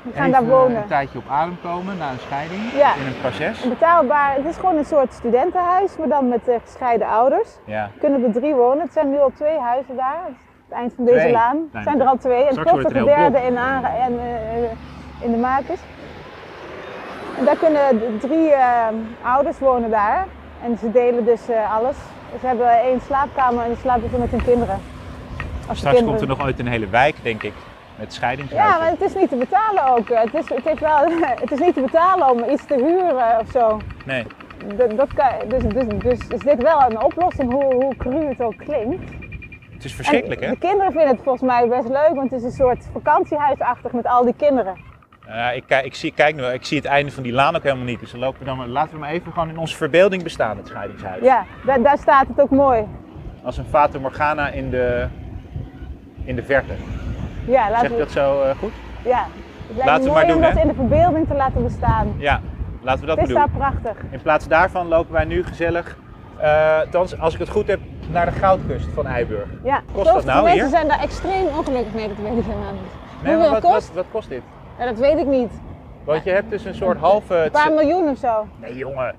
S3: We gaan daar
S2: even
S3: wonen.
S2: een tijdje op adem komen na een scheiding
S3: Ja.
S2: in een proces.
S3: Een betaalbaar, het is gewoon een soort studentenhuis, maar dan met eh, gescheiden ouders.
S2: Ja.
S3: kunnen er drie wonen. Het zijn nu al twee huizen daar. het eind van deze
S2: Twee.
S3: laan.
S2: Nee,
S3: zijn er al twee. En ik
S2: straks
S3: geloof dat
S2: wordt
S3: de
S2: het heel
S3: derde in, aan- en, eh, in de maak is. En daar kunnen d- drie eh, ouders wonen daar. En ze delen dus eh, alles. Ze hebben één slaapkamer en die slapen ze met hun kinderen. Als de
S2: Straks
S3: kinderen-
S2: komt er nog ooit een hele wijk, denk ik, met scheidingshuizen.
S3: ja, maar het is niet te betalen ook. Het is, het, heeft wel, het is niet te betalen om iets te huren of zo.
S2: Nee,
S3: Dat, dat kan, dus, dus, dus is dit wel een oplossing, hoe, hoe cru het ook klinkt.
S2: het is verschrikkelijk,
S3: En
S2: hè?
S3: De kinderen vinden het volgens mij best leuk, want het is een soort vakantiehuisachtig met al die kinderen.
S2: Ja, ik, kijk- ik, zie, kijk nu, ik zie het einde van die laan ook helemaal niet. Dus dan lopen we dan, maar- laten we maar even gewoon in onze verbeelding bestaan, het scheidingshuis.
S3: Ja, daar, daar staat het ook mooi.
S2: Als een Fata Morgana in de, in de verte.
S3: Ja, laten
S2: Zeg ik dat zo eh, goed?
S3: we, ja. Het lijkt
S2: Laten we
S3: me
S2: maar
S3: mooi
S2: doen,
S3: om dat
S2: hè?
S3: in de verbeelding te laten bestaan.
S2: Ja, laten we dat
S3: het
S2: maar
S3: is
S2: doen.
S3: daar prachtig.
S2: In plaats daarvan lopen wij nu gezellig, eh thans, als ik het goed heb, naar de goudkust van Eiburg.
S3: Ja.
S2: Kost dat
S3: Sommige
S2: nou
S3: mensen
S2: hier?
S3: zijn daar extreem ongelukkig mee, dat weet ik helemaal niet.
S2: Nee, maar
S3: Hoeveel
S2: wat,
S3: het kost?
S2: Wat, wat kost dit?
S3: Ja, dat weet ik niet.
S2: Want je hebt dus een soort halve...
S3: Een paar miljoen of zo.
S2: Nee, jongen.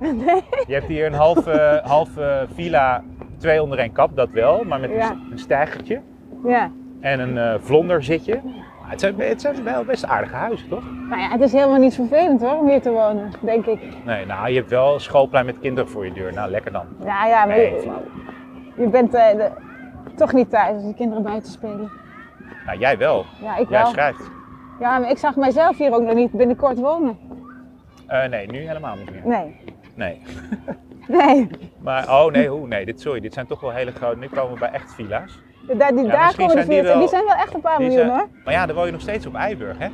S2: Je hebt hier een halve, halve villa, twee onder één kap, dat wel, maar met een,
S3: Ja.
S2: s- een stijgertje
S3: Ja.
S2: en een eh vlonderzitje. Maar Het zijn, het zijn wel best aardige huizen, toch?
S3: Nou ja, het is helemaal niet vervelend hoor, om hier te wonen, denk ik.
S2: Nee, nou, je hebt wel een schoolplein met kinderen voor je deur. Nou, lekker dan.
S3: Ja, ja, maar
S2: Nee,
S3: je,
S2: flauw.
S3: je bent eh, de- toch niet thuis als je kinderen buiten spelen.
S2: Nou, jij wel.
S3: Ja, ik
S2: Jij
S3: wel.
S2: schrijft.
S3: Ja, maar ik zag mijzelf hier ook nog niet binnenkort wonen.
S2: Eh, nee, nu helemaal niet meer.
S3: Nee.
S2: Nee.
S3: Nee.
S2: Maar, oh nee, hoe? Nee, dit, sorry, dit zijn toch wel hele grote. Nu komen we bij echt villa's.
S3: Daar, die,
S2: Ja,
S3: daar
S2: misschien
S3: komen de
S2: zijn die
S3: vier.
S2: wel-
S3: Die zijn wel echt een paar
S2: Die
S3: miljoen
S2: zijn-
S3: hoor.
S2: Maar ja, dan woon je nog steeds op Eiburg, hè?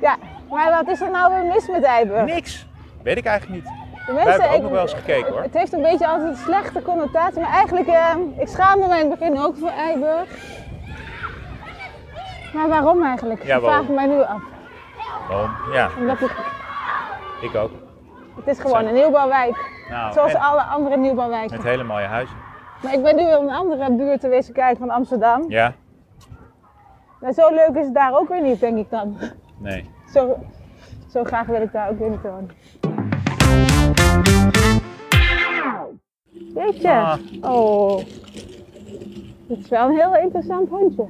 S3: Ja. Maar wat is er nou weer mis met Eiburg?
S2: Niks. Weet ik eigenlijk niet.
S3: de
S2: Wij hebben ook
S3: ik-
S2: nog wel eens gekeken hoor.
S3: Het heeft een beetje altijd een slechte connotatie. Maar eigenlijk, eh, ik schaamde mij in het begin ook voor Eiburg. Maar waarom eigenlijk?
S2: Ja,
S3: Ik
S2: waarom?
S3: vraag me mij nu af.
S2: Waarom? Ja,
S3: Omdat het,
S2: ik ook.
S3: het is gewoon een nieuwbouwwijk.
S2: Nou,
S3: Zoals
S2: en
S3: alle andere nieuwbouwwijken.
S2: Met hele mooie huizen.
S3: Maar ik ben nu in een andere buurt te wezen kijken van Amsterdam.
S2: Ja?
S3: Nou, zo leuk is het daar ook weer niet, denk ik dan.
S2: Nee.
S3: Zo, zo graag wil ik daar ook weer niet wonen. Jeetje.
S2: Ah.
S3: Oh. Dit is wel een heel interessant hondje.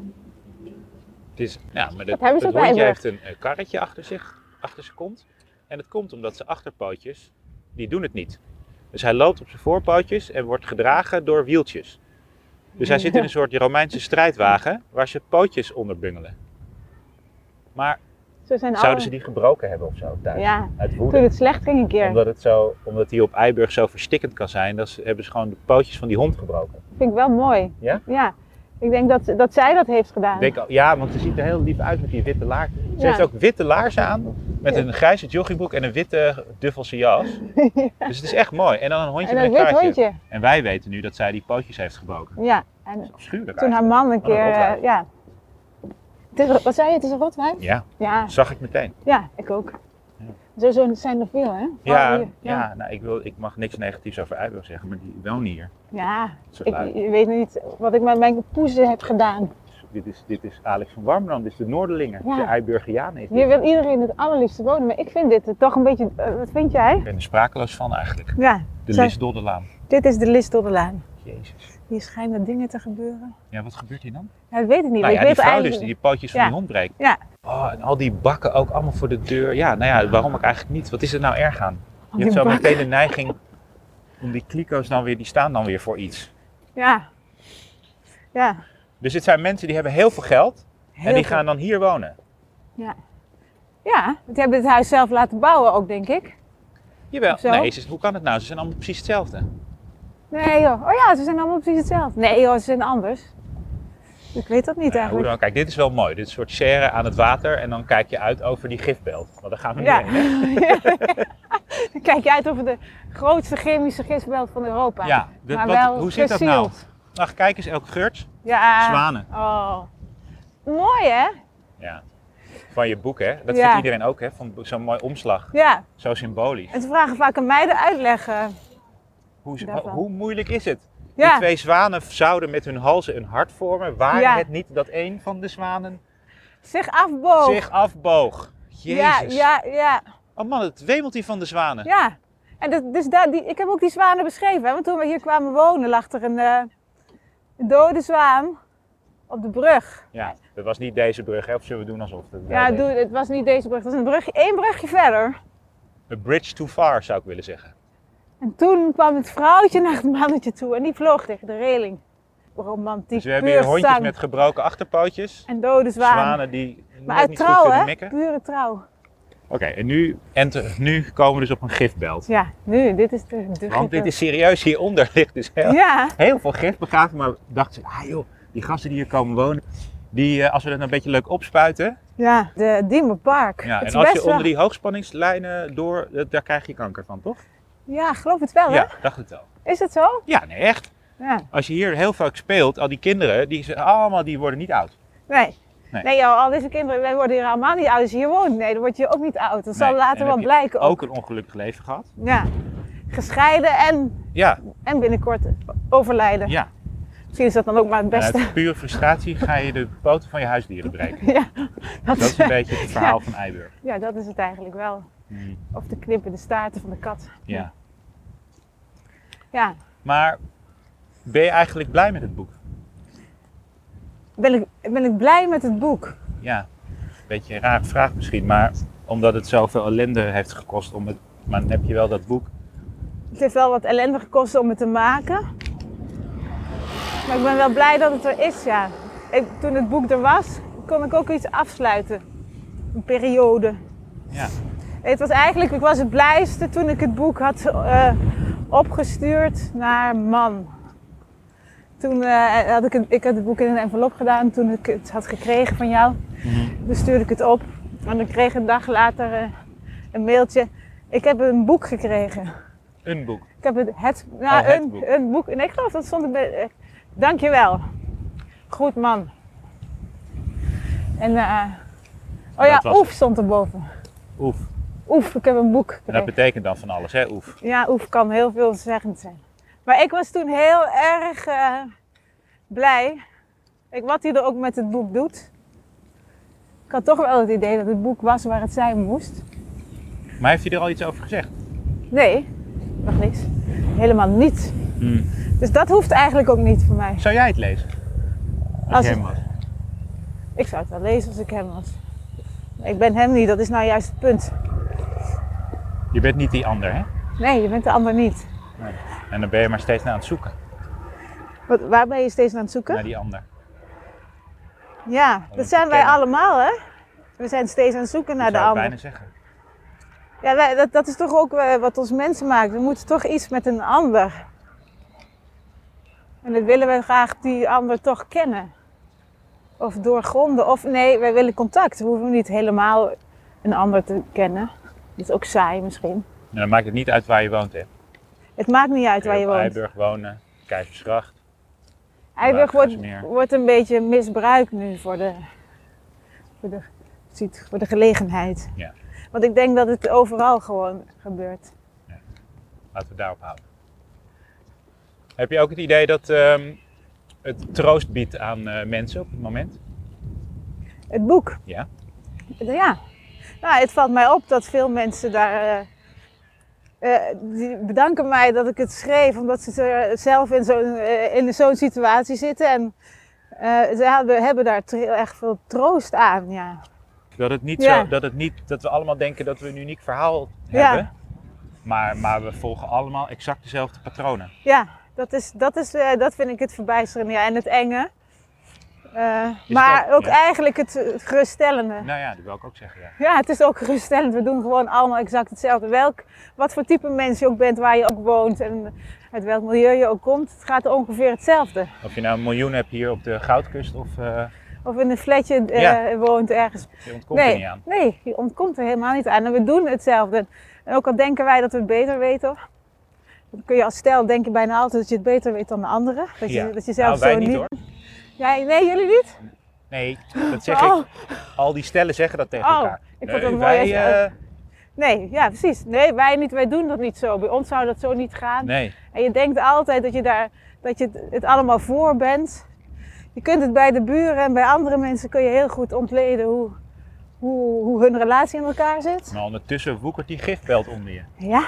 S2: Het is, ja, maar dat,
S3: Wat hebben ze
S2: dat
S3: op
S2: hondje
S3: Eiburg?
S2: heeft een eh, karretje achter zich, achter zijn kont. En dat komt omdat zijn achterpootjes, die doen het niet. Dus hij loopt op zijn voorpootjes en wordt gedragen door wieltjes. Dus hij zit in een soort Romeinse strijdwagen waar ze pootjes onder bungelen. Maar
S3: Zo zijn alle...
S2: zouden ze die gebroken hebben of zo thuis?
S3: Oh. Ja,
S2: Uit
S3: toen
S2: woede.
S3: het slecht ging een keer.
S2: Omdat, het zo, omdat die op Eiburg zo verstikkend kan zijn, dat ze, hebben ze gewoon de pootjes van die hond gebroken.
S3: Vind ik wel mooi.
S2: Ja?
S3: Ja. Ik denk dat, dat zij dat heeft gedaan.
S2: Ik Denk, al- ja, want ze ziet er heel lief uit met die witte laars. Ze
S3: Ja.
S2: heeft ook witte laarzen aan, met
S3: Ja.
S2: een grijze joggingbroek en een witte duffelse jas. Dus het is echt mooi. En dan een hondje
S3: en
S2: met
S3: dat
S2: een
S3: wit
S2: kaartje.
S3: hondje.
S2: En wij weten nu dat zij die pootjes heeft gebroken.
S3: Ja. En
S2: Afschuwelijk
S3: toen haar
S2: eigenlijk.
S3: man
S2: Wat een
S3: een keer... eh,
S2: rotwijf.
S3: ja. Het is, wat zei je? Het is een rotwijf?
S2: Ja,
S3: Ja.
S2: zag ik meteen.
S3: Ja, ik ook. Zo, zo zijn er veel, hè?
S2: Ja,
S3: Vooral
S2: ja.
S3: hier. ja.
S2: nou, ik, wil, ik mag niks negatiefs over Eiburg zeggen, maar die wonen hier.
S3: Ja,
S2: Dat soort lui.
S3: ik, je weet niet wat ik met mijn poezen heb gedaan.
S2: Dit is, dit is Alex van Warmland, dit is de Noorderlinger,
S3: Ja.
S2: de Eiburgianen. is dit.
S3: Hier wil iedereen het allerliefste wonen, maar ik vind dit toch een beetje... eh, wat vind jij?
S2: Ik ben er sprakeloos van eigenlijk.
S3: Ja,
S2: De
S3: Zij-
S2: Lisdodderlaan.
S3: dit is de list door de laan.
S2: Jezus.
S3: Hier schijnen dingen te gebeuren.
S2: Ja, wat gebeurt hier dan?
S3: Ja, dat weet ik niet. maar
S2: Nou ja,
S3: ik
S2: die
S3: weet
S2: vrouw dus
S3: eigenlijk...
S2: die die pootjes van
S3: Ja.
S2: die hond breekt.
S3: Ja.
S2: Oh, en al die bakken ook allemaal voor de deur. Ja, nou ja, waarom ook eigenlijk niet? Wat is er nou erg aan?
S3: Al
S2: Je hebt
S3: die
S2: zo
S3: bak-
S2: meteen de neiging om die kliko's dan weer, die staan dan weer voor iets.
S3: Ja. Ja.
S2: Dus dit zijn mensen die hebben heel veel geld en
S3: heel
S2: die
S3: veel-
S2: gaan dan hier wonen.
S3: Ja, die hebben het huis zelf laten bouwen ook, denk ik.
S2: Jawel.
S3: Zo?
S2: Nee, ze- hoe kan het nou? Ze zijn allemaal precies hetzelfde.
S3: Nee joh. Oh ja, ze zijn allemaal precies hetzelfde. Nee joh, ze zijn anders. Ik weet dat niet
S2: Nou ja, hoe
S3: eigenlijk.
S2: dan? Kijk, dit is wel mooi. Dit is een soort serre aan het water en dan kijk je uit over die gifbelt. Want daar gaan we nu
S3: Ja.
S2: heen. hè?
S3: Dan Kijk je uit over de grootste chemische gisbelt van Europa.
S2: Ja, dat-
S3: maar
S2: wat-
S3: wel
S2: hoe zit dat nou?
S3: gesield.
S2: Ach, kijk eens, elk geurt.
S3: Ja.
S2: Zwanen.
S3: Oh. Mooi hè?
S2: Ja. Van je boek, hè? Dat
S3: Ja.
S2: vindt iedereen ook, hè? Van zo'n mooi omslag.
S3: Ja.
S2: Zo symbolisch.
S3: En ze vragen vaak aan mij de uitleg. eh.
S2: Hoe, is-
S3: Daarvan.
S2: hoe moeilijk is het? Die
S3: Ja.
S2: twee zwanen zouden met hun halzen een hart vormen. Waar
S3: Ja.
S2: het niet dat een van de zwanen
S3: Zich afboog.
S2: zich afboog. Jezus.
S3: Oh. Ja, ja, ja.
S2: Oh man, het wemelt hier van de zwanen.
S3: Ja. En dat, dus daar, die, ik heb ook die zwanen beschreven. Hè? Want toen we hier kwamen wonen lag er een eh, een dode zwaan op de brug.
S2: Ja, dat was niet deze brug, hè? of zullen we doen alsof het wel
S3: Ja,
S2: deze-
S3: doe, het was niet deze brug, het was een brug, één brugje verder.
S2: A bridge too far zou ik willen zeggen.
S3: En toen kwam het vrouwtje naar het mannetje toe en die vloog tegen de reling. Romantiek,
S2: Dus we hebben
S3: puur
S2: hier hondjes
S3: zang.
S2: met gebroken achterpootjes.
S3: En dode zwanen.
S2: Zwanen die
S3: maar
S2: net
S3: uit
S2: niet
S3: trouw,
S2: goed kunnen
S3: hè?
S2: mikken.
S3: Pure trouw.
S2: Oké, en, nu, en te- nu komen we dus op een gifbelt.
S3: Ja, nu, dit is de, de
S2: Want dit is serieus, hieronder ligt dus heel,
S3: Ja,
S2: heel veel gif begraven. Maar dachten ze, ah joh, die gasten die hier komen wonen, die, eh, als we dat nou een beetje leuk opspuiten.
S3: ja, de Diemerpark.
S2: Ja,
S3: Het is
S2: en als je
S3: best wel-
S2: onder die hoogspanningslijnen door, eh, daar krijg je kanker van, toch?
S3: Ja, geloof het wel, hè?
S2: Ja, dacht het wel.
S3: Is het zo?
S2: Ja, nee, echt.
S3: Ja.
S2: Als je hier heel vaak speelt, al die kinderen, die, zijn allemaal, die worden niet oud.
S3: Nee. Nee,
S2: Nee.
S3: joh, al deze kinderen, wij worden hier allemaal niet oud als je hier woont. Nee, dan word je ook niet oud. Dat zal
S2: Nee,
S3: later
S2: en
S3: wel
S2: heb je
S3: blijken ook.
S2: Ook een ongelukkig leven gehad.
S3: Ja. Gescheiden en,
S2: Ja,
S3: en binnenkort overlijden.
S2: ja.
S3: Misschien is dat dan ook maar het
S2: En
S3: beste.
S2: Uit Eh, pure frustratie ga je de poten van je huisdieren breken.
S3: Ja, dat,
S2: Dat is een beetje het verhaal van Eiburg.
S3: ja, dat is het eigenlijk wel.
S2: Hmm,
S3: Of de knippende staarten van de kat.
S2: Ja.
S3: Ja,
S2: Maar ben je eigenlijk blij met het boek?
S3: ben ik, ben ik blij met het boek.
S2: Ja, een beetje een rare vraag misschien, maar omdat het zoveel ellende heeft gekost om het... Maar dan heb je wel dat boek.
S3: Het heeft wel wat ellende gekost om het te maken. Maar ik ben wel blij dat het er is, ja. Ik, toen het boek er was, kon ik ook iets afsluiten. Een periode.
S2: Ja.
S3: Het was eigenlijk, ik was het blijste toen ik het boek had eh, opgestuurd naar man. Toen eh, had ik, het, ik had het boek in een envelop gedaan toen ik het had gekregen van jou. Dus stuurde ik het op en ik kreeg een dag later eh, een mailtje. Ik heb een boek gekregen.
S2: Een boek.
S3: Ik heb het, het, nou,
S2: Oh, het
S3: een,
S2: boek.
S3: een boek. Nee, ik geloof dat stond er bij. eh, Dankjewel. Goed man. En eh, oh
S2: Dat
S3: ja,
S2: was
S3: oef stond erboven.
S2: Oef.
S3: Oef, ik heb een boek
S2: En dat
S3: gekregen.
S2: betekent dan van alles, hè? Oef.
S3: Ja, oef kan heel veelzeggend zijn. Maar ik was toen heel erg eh, blij. Ik, wat hij er ook met het boek doet. Ik had toch wel het idee dat het boek was waar het zijn moest.
S2: Maar heeft hij er al iets over gezegd?
S3: Nee, nog niks. Helemaal niet.
S2: Hmm.
S3: Dus dat hoeft eigenlijk ook niet voor mij.
S2: Zou jij het lezen? Als,
S3: Als
S2: jij
S3: het-
S2: hem was.
S3: Ik zou het wel lezen als ik hem was. Maar Ik ben hem niet, dat is nou juist het punt.
S2: Je bent niet die ander, hè?
S3: Nee, je bent de ander niet.
S2: En dan ben je maar steeds naar aan het zoeken.
S3: Wat, waar ben je steeds aan het
S2: Naar
S3: zoeken?
S2: die Oh, ander.
S3: Ja, dat
S2: het
S3: zijn wij
S2: herkennen.
S3: allemaal, hè? We zijn steeds aan het zoeken naar
S2: Dat
S3: de
S2: zou ik
S3: ander.
S2: bijna zeggen.
S3: Ja, wij, dat, dat is toch ook eh, wat ons mensen maakt. We moeten toch iets met een ander. En dat willen we graag die ander toch kennen. Of doorgronden. Of nee, wij willen contact. We hoeven niet helemaal een ander te kennen. Dat is ook saai misschien.
S2: En Nou, dan maakt het niet uit waar je woont, hè?
S3: Het maakt niet uit waar je
S2: Op
S3: woont.
S2: Eiburg wonen, Keizersgracht.
S3: Eiburg wordt,
S2: Watergasmeer.
S3: wordt een beetje misbruikt nu voor de, voor de, ziet, voor de gelegenheid.
S2: Ja.
S3: Want ik denk dat het overal gewoon gebeurt.
S2: Laten we daarop houden. Heb je ook het idee dat ehm, het troost biedt aan eh, mensen op het moment?
S3: Het boek.
S2: Ja.
S3: Ja. Nou, het valt mij op dat veel mensen daar. eh, eh, die bedanken mij dat ik het schreef, omdat ze er zelf in zo'n eh, in zo'n situatie zitten. En eh, ze hebben, hebben daar tr- echt veel troost aan. Ja.
S2: Dat het niet
S3: Ja.
S2: zo, dat het niet, dat we allemaal denken dat we een uniek verhaal
S3: Ja.
S2: hebben. Maar, maar we volgen allemaal exact dezelfde patronen.
S3: Ja, dat, is, dat, is, eh, dat vind ik het verbijsterende ja, en het enge. Eh,
S2: Is
S3: maar
S2: dat-
S3: ook
S2: ja.
S3: eigenlijk het, eh, het geruststellende.
S2: Nou ja, dat wil ik ook zeggen, ja.
S3: Ja, het is ook geruststellend. We doen gewoon allemaal exact hetzelfde. Welk, wat voor type mens je ook bent, waar je ook woont en uit welk milieu je ook komt, het gaat ongeveer hetzelfde.
S2: Of je nou een miljoen hebt hier op de Goudkust of eh,
S3: Of in een flatje eh,
S2: Ja.
S3: woont ergens.
S2: je ontkomt er niet aan.
S3: nee, je ontkomt er helemaal niet aan. En we doen hetzelfde. En ook al denken wij dat we het beter weten, dan kun je als stel denk je bijna altijd dat je het beter weet dan de anderen. Dat je,
S2: Ja.
S3: dat je
S2: nou,
S3: zelf
S2: wij
S3: zo
S2: niet, hoor.
S3: Jij, nee, jullie niet?
S2: Nee, dat zeg
S3: Oh.
S2: ik. Al die stellen zeggen dat tegen
S3: Oh,
S2: elkaar.
S3: ik vond
S2: Nee,
S3: dat
S2: wij,
S3: mooi als-
S2: eh,
S3: Nee, ja, precies. Nee, wij niet, wij doen dat niet zo. Bij ons zou dat zo niet gaan.
S2: nee,
S3: En je denkt altijd dat je, daar, dat je het- het allemaal voor bent. Je kunt het bij de buren en bij andere mensen kun je heel goed ontleden hoe, hoe, hoe hun relatie in elkaar zit.
S2: maar ondertussen woekert die gifbelt onder je.
S3: Ja,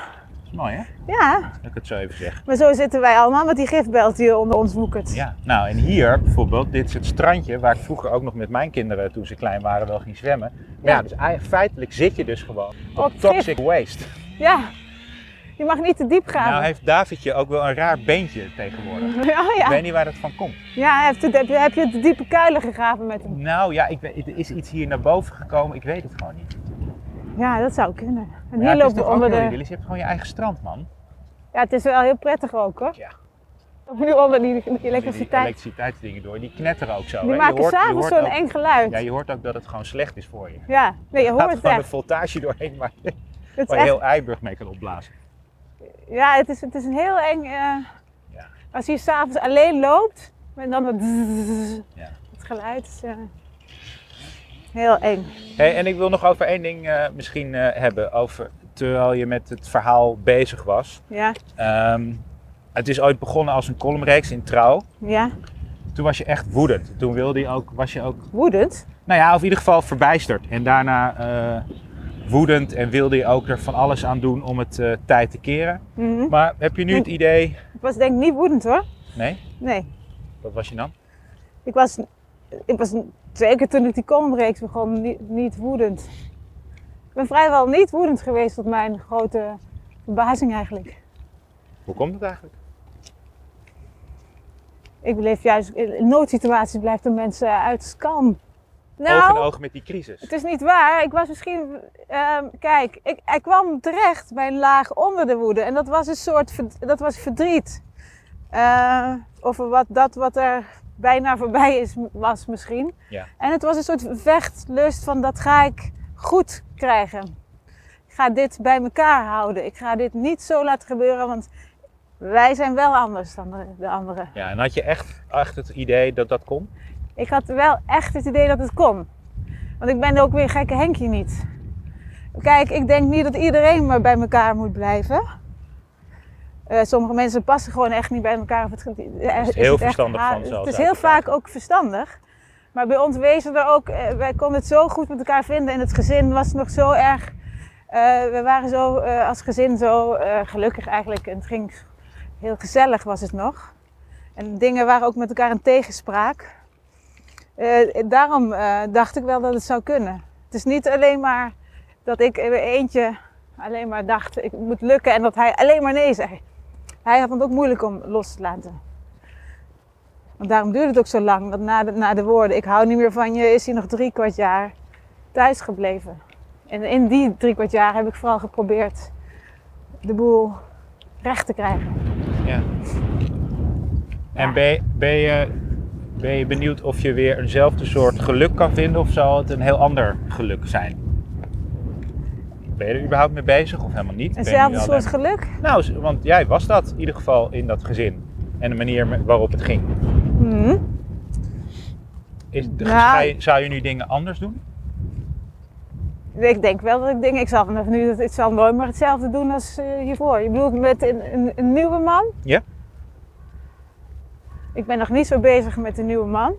S2: Mooi hè,
S3: Ja,
S2: dat ik het zo even zeg.
S3: maar zo zitten wij allemaal met die gifbelt die onder ons woekert.
S2: Ja. Nou, en hier bijvoorbeeld, dit is het strandje waar ik vroeger ook nog met mijn kinderen toen ze klein waren wel ging zwemmen. Maar ja,
S3: Ja.
S2: dus eigenlijk- feitelijk zit je dus gewoon op,
S3: Op gif.
S2: toxic waste.
S3: Ja. Je mag niet te diep gaan.
S2: Nou heeft Davidje ook wel een raar beentje tegenwoordig.
S3: ja,
S2: Ik
S3: Oh, ja.
S2: weet niet waar dat van komt.
S3: ja heb, je, heb, je, heb je te diepe kuilen gegraven met hem?
S2: Nou ja, ik weet, er is iets hier naar boven gekomen, ik weet het gewoon niet.
S3: Ja, dat zou kunnen. En
S2: Ja,
S3: hier
S2: het is
S3: lopen we
S2: toch ook
S3: onder
S2: heel
S3: de...
S2: idyllisch. Je hebt gewoon je eigen strand, man.
S3: Ja, het is wel heel prettig ook hoor.
S2: Ja.
S3: Of nu onder die, die
S2: Die
S3: elektriciteit.
S2: elektriciteitsdingen door, die knetteren ook zo. hè.
S3: Die
S2: Je
S3: maken
S2: hoort- je
S3: s'avonds
S2: hoort
S3: zo'n
S2: ook-
S3: eng geluid.
S2: Ja, je hoort ook dat het gewoon slecht is voor je.
S3: Ja, nee, je
S2: Gaat
S3: hoort het
S2: gewoon de
S3: echt.
S2: voltage doorheen, maar
S3: Het
S2: waar
S3: is
S2: je
S3: echt
S2: heel Eiburg mee kan opblazen.
S3: ja, het is, het is een heel eng. eh,
S2: Ja.
S3: Als je s'avonds alleen loopt, en dan dat
S2: Ja.
S3: het geluid is eh, heel eng.
S2: Hey, en ik wil nog over één ding eh, misschien eh, hebben. Over, terwijl je met het verhaal bezig was.
S3: Ja,
S2: Ehm, het is ooit begonnen als een columnreeks in Trouw.
S3: ja.
S2: Toen was je echt woedend. Toen wilde je ook, was je ook,
S3: woedend.
S2: nou ja, of in ieder geval verbijsterd. En daarna eh, woedend en wilde je ook er van alles aan doen om het eh, tijd te keren.
S3: Mhm.
S2: Maar heb je nu het idee...
S3: Ik was denk ik niet woedend hoor.
S2: Nee?
S3: Nee,
S2: Wat was je dan?
S3: ik was, ik was zeker toen ik die columnreeks begon niet, niet woedend. Ik ben vrijwel niet woedend geweest tot mijn grote verbazing eigenlijk.
S2: Hoe komt het eigenlijk?
S3: Ik beleef juist, in noodsituaties blijft een mens eh, uiterst kalm.
S2: Oog in
S3: Nou,
S2: oog met die crisis.
S3: het is niet waar. Ik was misschien, ehm, kijk, ik, ik kwam terecht bij een laag onder de woede. En dat was een soort, verd- dat was verdriet. Eh, over wat, dat wat er bijna voorbij is, was misschien.
S2: Ja.
S3: En het was een soort vechtlust van dat ga ik goed krijgen. Ik ga dit bij elkaar houden. Ik ga dit niet zo laten gebeuren, want wij zijn wel anders dan de, de anderen.
S2: Ja, en had je echt, echt het idee dat dat kon?
S3: Ik had wel echt het idee dat het kon. Want ik ben ook weer gekke Henkie niet. Kijk, ik denk niet dat iedereen maar bij elkaar moet blijven. Eh, sommige mensen passen gewoon echt niet bij elkaar. Of het, eh, is
S2: heel
S3: echt
S2: verstandig
S3: haar-
S2: van ze
S3: Het
S2: altijd
S3: is heel
S2: te praten.
S3: vaak ook verstandig. Maar bij ons wezen er ook, eh, wij konden het zo goed met elkaar vinden. In het gezin was het nog zo erg. eh, we waren zo eh, als gezin zo eh, gelukkig eigenlijk. En het ging heel gezellig was het nog. En dingen waren ook met elkaar in tegenspraak. Eh, daarom eh, dacht ik wel dat het zou kunnen. Het is niet alleen maar dat ik in mijn eentje alleen maar dacht, ik moet lukken en dat hij alleen maar nee zei. Hij had het ook moeilijk om los te laten. Want daarom duurde het ook zo lang, want na de, na de woorden, ik hou niet meer van je, is hij nog drie kwart jaar thuis gebleven. En in die drie kwart jaar heb ik vooral geprobeerd de boel recht te krijgen.
S2: Ja. En ben, je- ben, je, ben je benieuwd of je weer eenzelfde soort geluk kan vinden of zal het een heel ander geluk zijn? Ben je er überhaupt mee bezig of helemaal niet? Ben je nu
S3: Eenzelfde
S2: al
S3: soort
S2: daar-
S3: geluk?
S2: Nou, z- want jij was dat in ieder geval in dat gezin en de manier me- waarop het ging.
S3: Mhm.
S2: Is, de-
S3: Nou.
S2: ga je- zou je nu dingen anders doen?
S3: Ik denk wel dat ik denk, ik zal vanaf nu, ik zal nooit meer hetzelfde doen als eh, hiervoor. Je bedoelt met een, een, een nieuwe man?
S2: Ja.
S3: Ik ben nog niet zo bezig met een nieuwe man.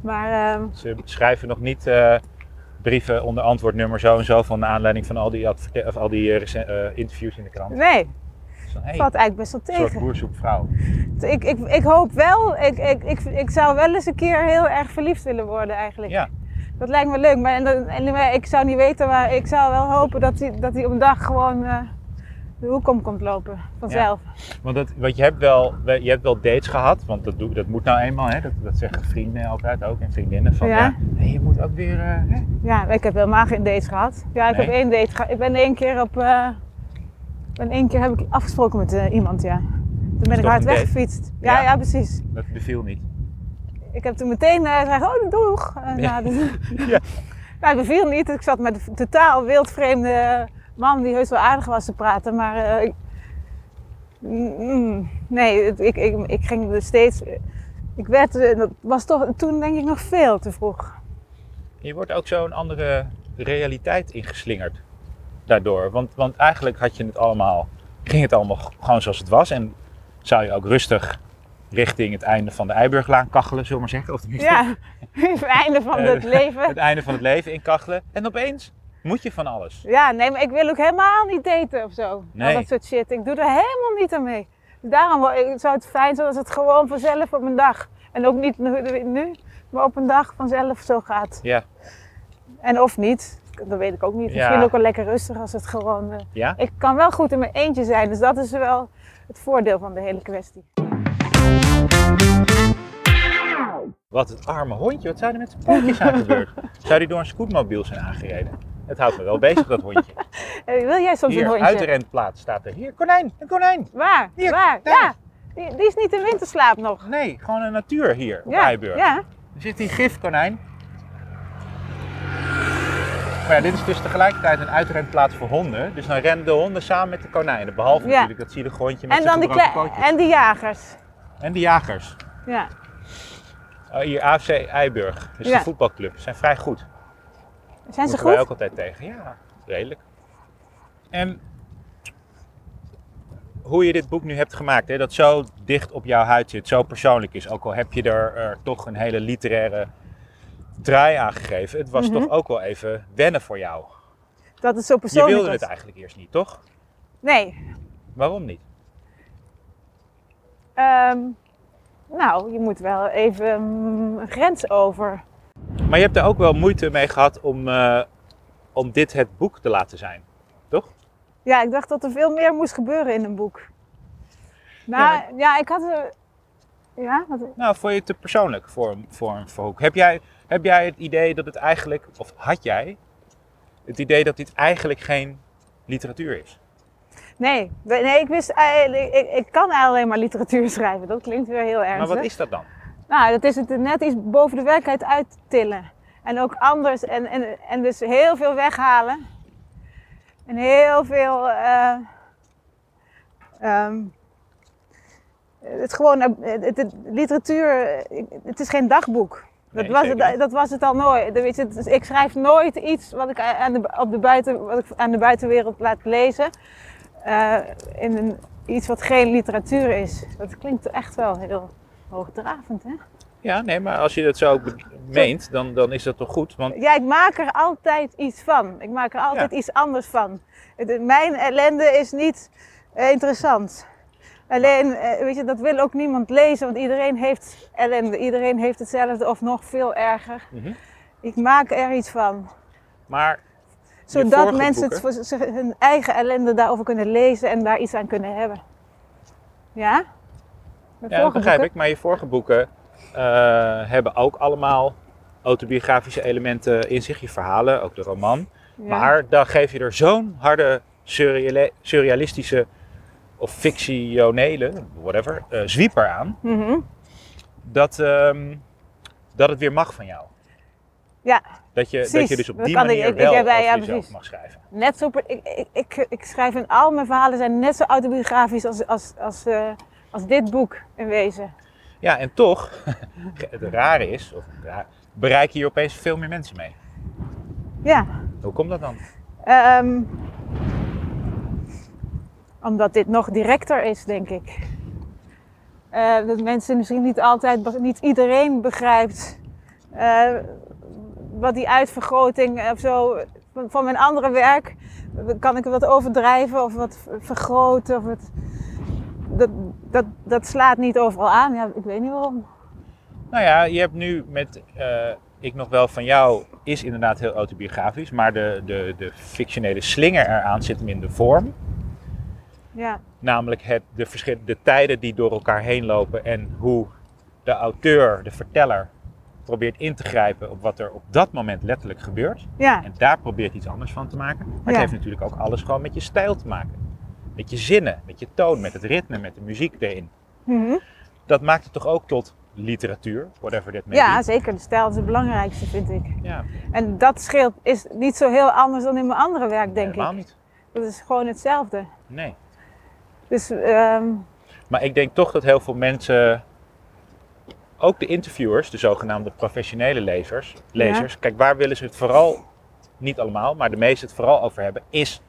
S3: Maar ehm,
S2: Ze schrijven nog niet eh, brieven onder antwoordnummer zo en zo van naar aanleiding van al die, adverte- of al die eh, recen- eh, interviews in de krant.
S3: nee,
S2: Dus dan, hey,
S3: valt eigenlijk best wel
S2: een soort
S3: tegen.
S2: boer zoekt vrouw.
S3: Ik, ik, ik hoop wel, ik, ik, ik, ik zou wel eens een keer heel erg verliefd willen worden eigenlijk.
S2: Ja.
S3: Dat lijkt me leuk, maar, en, dan- en, maar ik zou niet weten, maar ik zou wel hopen dat hij dat die op een dag gewoon eh, de hoek om komt lopen, vanzelf.
S2: Want, dat, want je, hebt wel, je hebt wel dates gehad, want dat, doe, dat moet nou eenmaal, hè? Dat, dat zeggen vrienden altijd ook en vriendinnen. Van, ja.
S3: Ja.
S2: hé, je moet ook weer. eh, hè?
S3: Ja, ik heb helemaal geen dates gehad. Ja, ik
S2: Nee?
S3: heb één date gehad. Ik ben één keer op. eh, ik ben één keer heb ik afgesproken met eh, iemand, ja. Toen ben ik
S2: Dus toch
S3: hard
S2: een date?
S3: weggefietst. Ja,
S2: Ja.
S3: ja, precies.
S2: Dat beviel niet.
S3: Ik heb toen meteen eh gezegd, oh, doeg. En,
S2: Ja.
S3: nou, dat-
S2: Ja.
S3: Nou, het beviel niet. Ik zat met een totaal wildvreemde man die heus wel aardig was te praten, maar eh, ik- Mm, mm. nee, het- ik, ik, ik ging er steeds... Ik werd, eh, dat was toch toen denk ik nog veel te vroeg.
S2: Je wordt ook zo'n andere realiteit ingeslingerd daardoor. Want, want eigenlijk had je het allemaal, ging het allemaal g- gewoon zoals het was. En zou je ook rustig richting het einde van de Eiburglaan kachelen, zullen we maar zeggen. Of tenminste,
S3: Ja, het einde van
S2: Eh,
S3: het leven.
S2: het einde van het leven in kachelen. En opeens Moet je van alles?
S3: Ja, nee, maar ik wil ook helemaal niet daten of zo.
S2: Nee.
S3: Al dat soort shit. Ik doe er helemaal niet aan mee. Dus daarom wel- ik- zou het fijn zijn als het gewoon vanzelf op een dag. En ook niet nu, nu, maar op een dag vanzelf zo gaat.
S2: Ja.
S3: En of niet, dat weet ik ook niet.
S2: Ja.
S3: Misschien ook wel lekker rustig als het gewoon... eh,
S2: Ja?
S3: ik kan wel goed in mijn eentje zijn, dus dat is wel het voordeel van de hele kwestie.
S2: Wat het arme hondje, wat zou er met zijn pootjes aan gebeurd? Zou die door een scootmobiel zijn aangereden? Het houdt me wel bezig, dat hondje.
S3: Eh, wil jij soms
S2: Hier,
S3: een hondje?
S2: uit de renplaats staat er. Hier, konijn, een konijn.
S3: Waar?
S2: Hier,
S3: Waar?
S2: daar.
S3: Ja. Die, die is niet in winterslaap nog.
S2: Nee, gewoon een natuur hier op
S3: ja.
S2: Eiburg.
S3: Ja.
S2: Er zit hier gifkonijn. Maar ja, dit is dus tegelijkertijd een uitrenplaats voor honden. Dus dan rennen de honden samen met de konijnen. Behalve
S3: Ja.
S2: natuurlijk dat zielige hondje met
S3: En dan
S2: zijn
S3: die,
S2: gebroken
S3: klei-
S2: pootjes.
S3: en die jagers.
S2: En de jagers.
S3: Ja.
S2: Oh, hier AFC Eiburg, dus
S3: Ja.
S2: de voetbalclub. Zijn vrij goed. Zijn
S3: Zijn ze
S2: wij
S3: goed?
S2: ook altijd tegen. Ja, redelijk. En hoe je dit boek nu hebt gemaakt, hè, dat zo dicht op jouw huid zit, zo persoonlijk is. Ook al heb je er eh, toch een hele literaire draai aan gegeven. Het was
S3: Mhm.
S2: toch ook wel even wennen voor jou.
S3: Dat is zo
S2: Je
S3: persoonlijk.
S2: wilde
S3: was.
S2: het eigenlijk eerst niet, toch?
S3: Nee.
S2: Waarom niet?
S3: Ehm, nou, je moet wel even mm, een grens over.
S2: Maar je hebt er ook wel moeite mee gehad om, eh, om dit het boek te laten zijn, toch?
S3: Ja, ik dacht dat er veel meer moest gebeuren in een boek. Nou, ja, ik had... eh, ja, wat,
S2: Nou, vond je het te persoonlijk voor, een- voor een verhoek? Heb jij, heb jij het idee dat het eigenlijk, of had jij het idee dat dit eigenlijk geen literatuur is?
S3: nee, we- nee, ik wist... eh, ik, ik, ik kan alleen maar literatuur schrijven. Dat klinkt weer heel ernstig.
S2: Maar wat is dat dan?
S3: Nou, dat is het net iets boven de werkelijkheid uittillen. En ook anders. En, en, en dus heel veel weghalen. En heel veel. eh, ehm, het, gewoon, eh, het, het- literatuur, eh, het is geen dagboek. Dat,
S2: Nee,
S3: was
S2: zeker
S3: het,
S2: niet.
S3: dat was het al nooit. Weet je, het- dus ik schrijf nooit iets wat ik, aan de, op de buiten, wat ik aan de buitenwereld laat lezen. eh, in een, iets wat geen literatuur is. Dat klinkt echt wel heel hoogdravend, hè?
S2: Ja, nee, maar als je dat zo ook be- meent, dan, dan is dat toch goed? Want
S3: Ja, ik maak er altijd iets van. Ik maak er altijd iets anders van. Het- Mijn ellende is niet eh, interessant. Alleen, eh, weet je, dat wil ook niemand lezen, want iedereen heeft ellende. Iedereen heeft hetzelfde of nog veel erger.
S2: Mhm.
S3: Ik maak er iets van.
S2: maar
S3: Zodat
S2: vorige
S3: mensen het voor zich- hun eigen ellende daarover kunnen lezen en daar iets aan kunnen hebben. Ja?
S2: Ja,
S3: De
S2: dat
S3: vorige
S2: begrijp
S3: boeken?
S2: ik. Maar je vorige boeken eh, hebben ook allemaal autobiografische elementen in zich, je verhalen, ook de roman.
S3: Ja.
S2: Maar dan geef je er zo'n harde surreale- surrealistische of fictionele, whatever, eh zwieper aan,
S3: Mhm.
S2: dat, ehm, dat het weer mag van jou.
S3: Ja.
S2: Dat je, dat
S3: Precies.
S2: je dus op
S3: Dat
S2: die
S3: kan ik-
S2: manier
S3: ik- ik
S2: wel
S3: heb- ja,
S2: over
S3: ja,
S2: jezelf
S3: precies.
S2: mag schrijven.
S3: net zo. per- Ik, ik, ik, ik schrijf in al mijn verhalen zijn net zo autobiografisch als, als, als, eh, als dit boek in wezen.
S2: Ja, en toch, het rare is, of raar, bereik je hier opeens veel meer mensen mee.
S3: Ja.
S2: Hoe komt dat dan?
S3: ehm, omdat dit nog directer is, denk ik. Eh, dat mensen misschien niet altijd, be- niet iedereen begrijpt eh, wat die uitvergroting eh, of zo van, van mijn andere werk kan ik wat overdrijven of wat ver- vergroten of het, dat, dat, dat slaat niet overal aan. Ja, ik weet niet waarom.
S2: Nou ja, je hebt nu met eh, Ik nog wel van jou is inderdaad heel autobiografisch, maar de, de, de fictionele slinger eraan zit hem in de vorm.
S3: Ja,
S2: Namelijk het, de, verschil, de tijden die door elkaar heen lopen en hoe de auteur, de verteller, probeert in te grijpen op wat er op dat moment letterlijk gebeurt.
S3: ja,
S2: En daar probeert iets anders van te maken. Maar het
S3: Ja.
S2: heeft natuurlijk ook alles gewoon met je stijl te maken. Met je zinnen, met je toon, met het ritme, met de muziek erin.
S3: Mhm.
S2: Dat maakt het toch ook tot literatuur, whatever that may
S3: ja
S2: be.
S3: zeker. De stijl is het belangrijkste, vind ik.
S2: Ja,
S3: En dat scheelt is niet zo heel anders dan in mijn andere werk, denk
S2: helemaal
S3: ik.
S2: niet.
S3: Dat is gewoon hetzelfde.
S2: Nee.
S3: Dus ehm,
S2: Maar ik denk toch dat heel veel mensen, ook de interviewers, de zogenaamde professionele lezers, lezers kijk, waar willen ze het vooral, niet allemaal, maar de meesten het vooral over hebben, is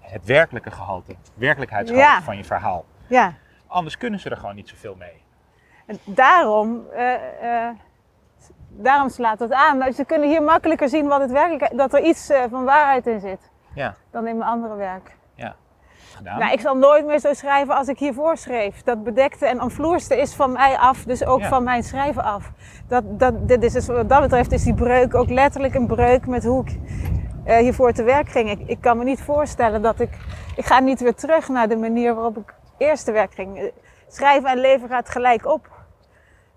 S2: het werkelijke gehalte, het werkelijkheidsgehalte
S3: Ja.
S2: van je verhaal.
S3: ja,
S2: Anders kunnen ze er gewoon niet zoveel mee.
S3: en daarom eh, eh, Daarom slaat dat aan. Nou, Ze kunnen hier makkelijker zien wat het werkelijk, dat er iets eh, van waarheid in zit
S2: Ja,
S3: dan in mijn andere werk.
S2: ja. Gedaan.
S3: Nou, ik zal nooit meer zo schrijven als ik hiervoor schreef. Dat bedekte en omvloerste is van mij af, dus ook
S2: Ja.
S3: van mijn schrijven af. Dat, dat, dit is dus, wat dat betreft is die breuk ook letterlijk een breuk met hoe ik eh, hiervoor te werk ging. Ik, ik kan me niet voorstellen dat ik... Ik ga niet weer terug naar de manier waarop ik eerst te werk ging. Eh, Schrijven en leven gaat gelijk op.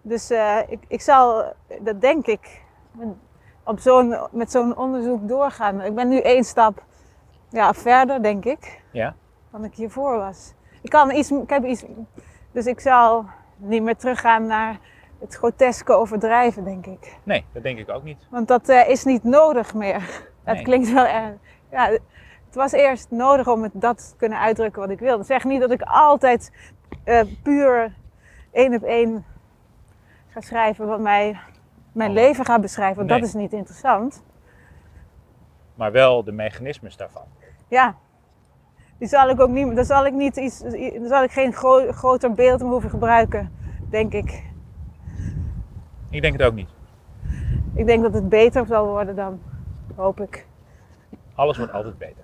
S3: Dus eh, ik, ik zal, eh, dat denk ik, op zo'n, met zo'n onderzoek doorgaan. Ik ben nu één stap ja, verder, denk ik
S2: Ja,
S3: dan ik hiervoor was. Ik kan iets, ik heb iets, dus ik zal niet meer teruggaan naar het groteske overdrijven, denk ik.
S2: nee, dat denk ik ook niet.
S3: Want dat eh, is niet nodig meer. Dat
S2: Nee.
S3: klinkt wel erg. Ja, het was eerst nodig om het, dat te kunnen uitdrukken wat ik wilde. Zeg niet dat ik altijd eh, puur één op één ga schrijven wat mij, mijn
S2: Oh.
S3: leven gaat beschrijven. Want
S2: Nee.
S3: dat is niet interessant.
S2: Maar wel de mechanismes daarvan.
S3: Ja. Die zal ik ook niet, daar zal ik niet iets, daar zal ik geen gro- groter beeld om hoeven gebruiken, denk ik.
S2: Ik denk het ook niet.
S3: Ik denk dat het beter zal worden dan, hoop ik.
S2: Alles wordt altijd beter.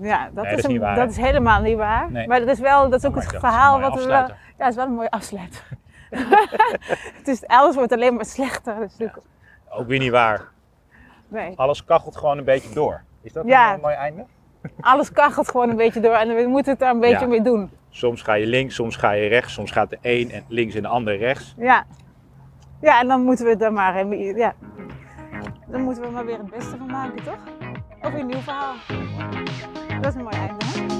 S3: Ja,
S2: Nee,
S3: dat, is,
S2: dat is
S3: een-
S2: niet waar,
S3: dat
S2: hè?
S3: is helemaal niet waar.
S2: Nee.
S3: Maar dat is wel, dat is ook
S2: Maar
S3: het
S2: dat is een
S3: verhaal
S2: mooie
S3: wat we wel,
S2: afsluiter.
S3: ja, het is wel een mooie afsluiter. het is, alles wordt alleen maar slechter. Dat is natuurlijk-
S2: Ook weer niet waar.
S3: nee.
S2: Alles kachelt gewoon een beetje door. Is dat nou
S3: Ja.
S2: een mooi einde?
S3: Alles kachelt gewoon een beetje door en we moeten het daar een beetje
S2: Ja.
S3: mee doen.
S2: Soms ga je links, soms ga je rechts, soms gaat de een en links en de ander rechts.
S3: Ja. Ja, en dan moeten we er maar, eh, ja. dan moeten we maar weer het beste van maken, toch? Of een nieuw verhaal. Dat is een mooi einde, hè?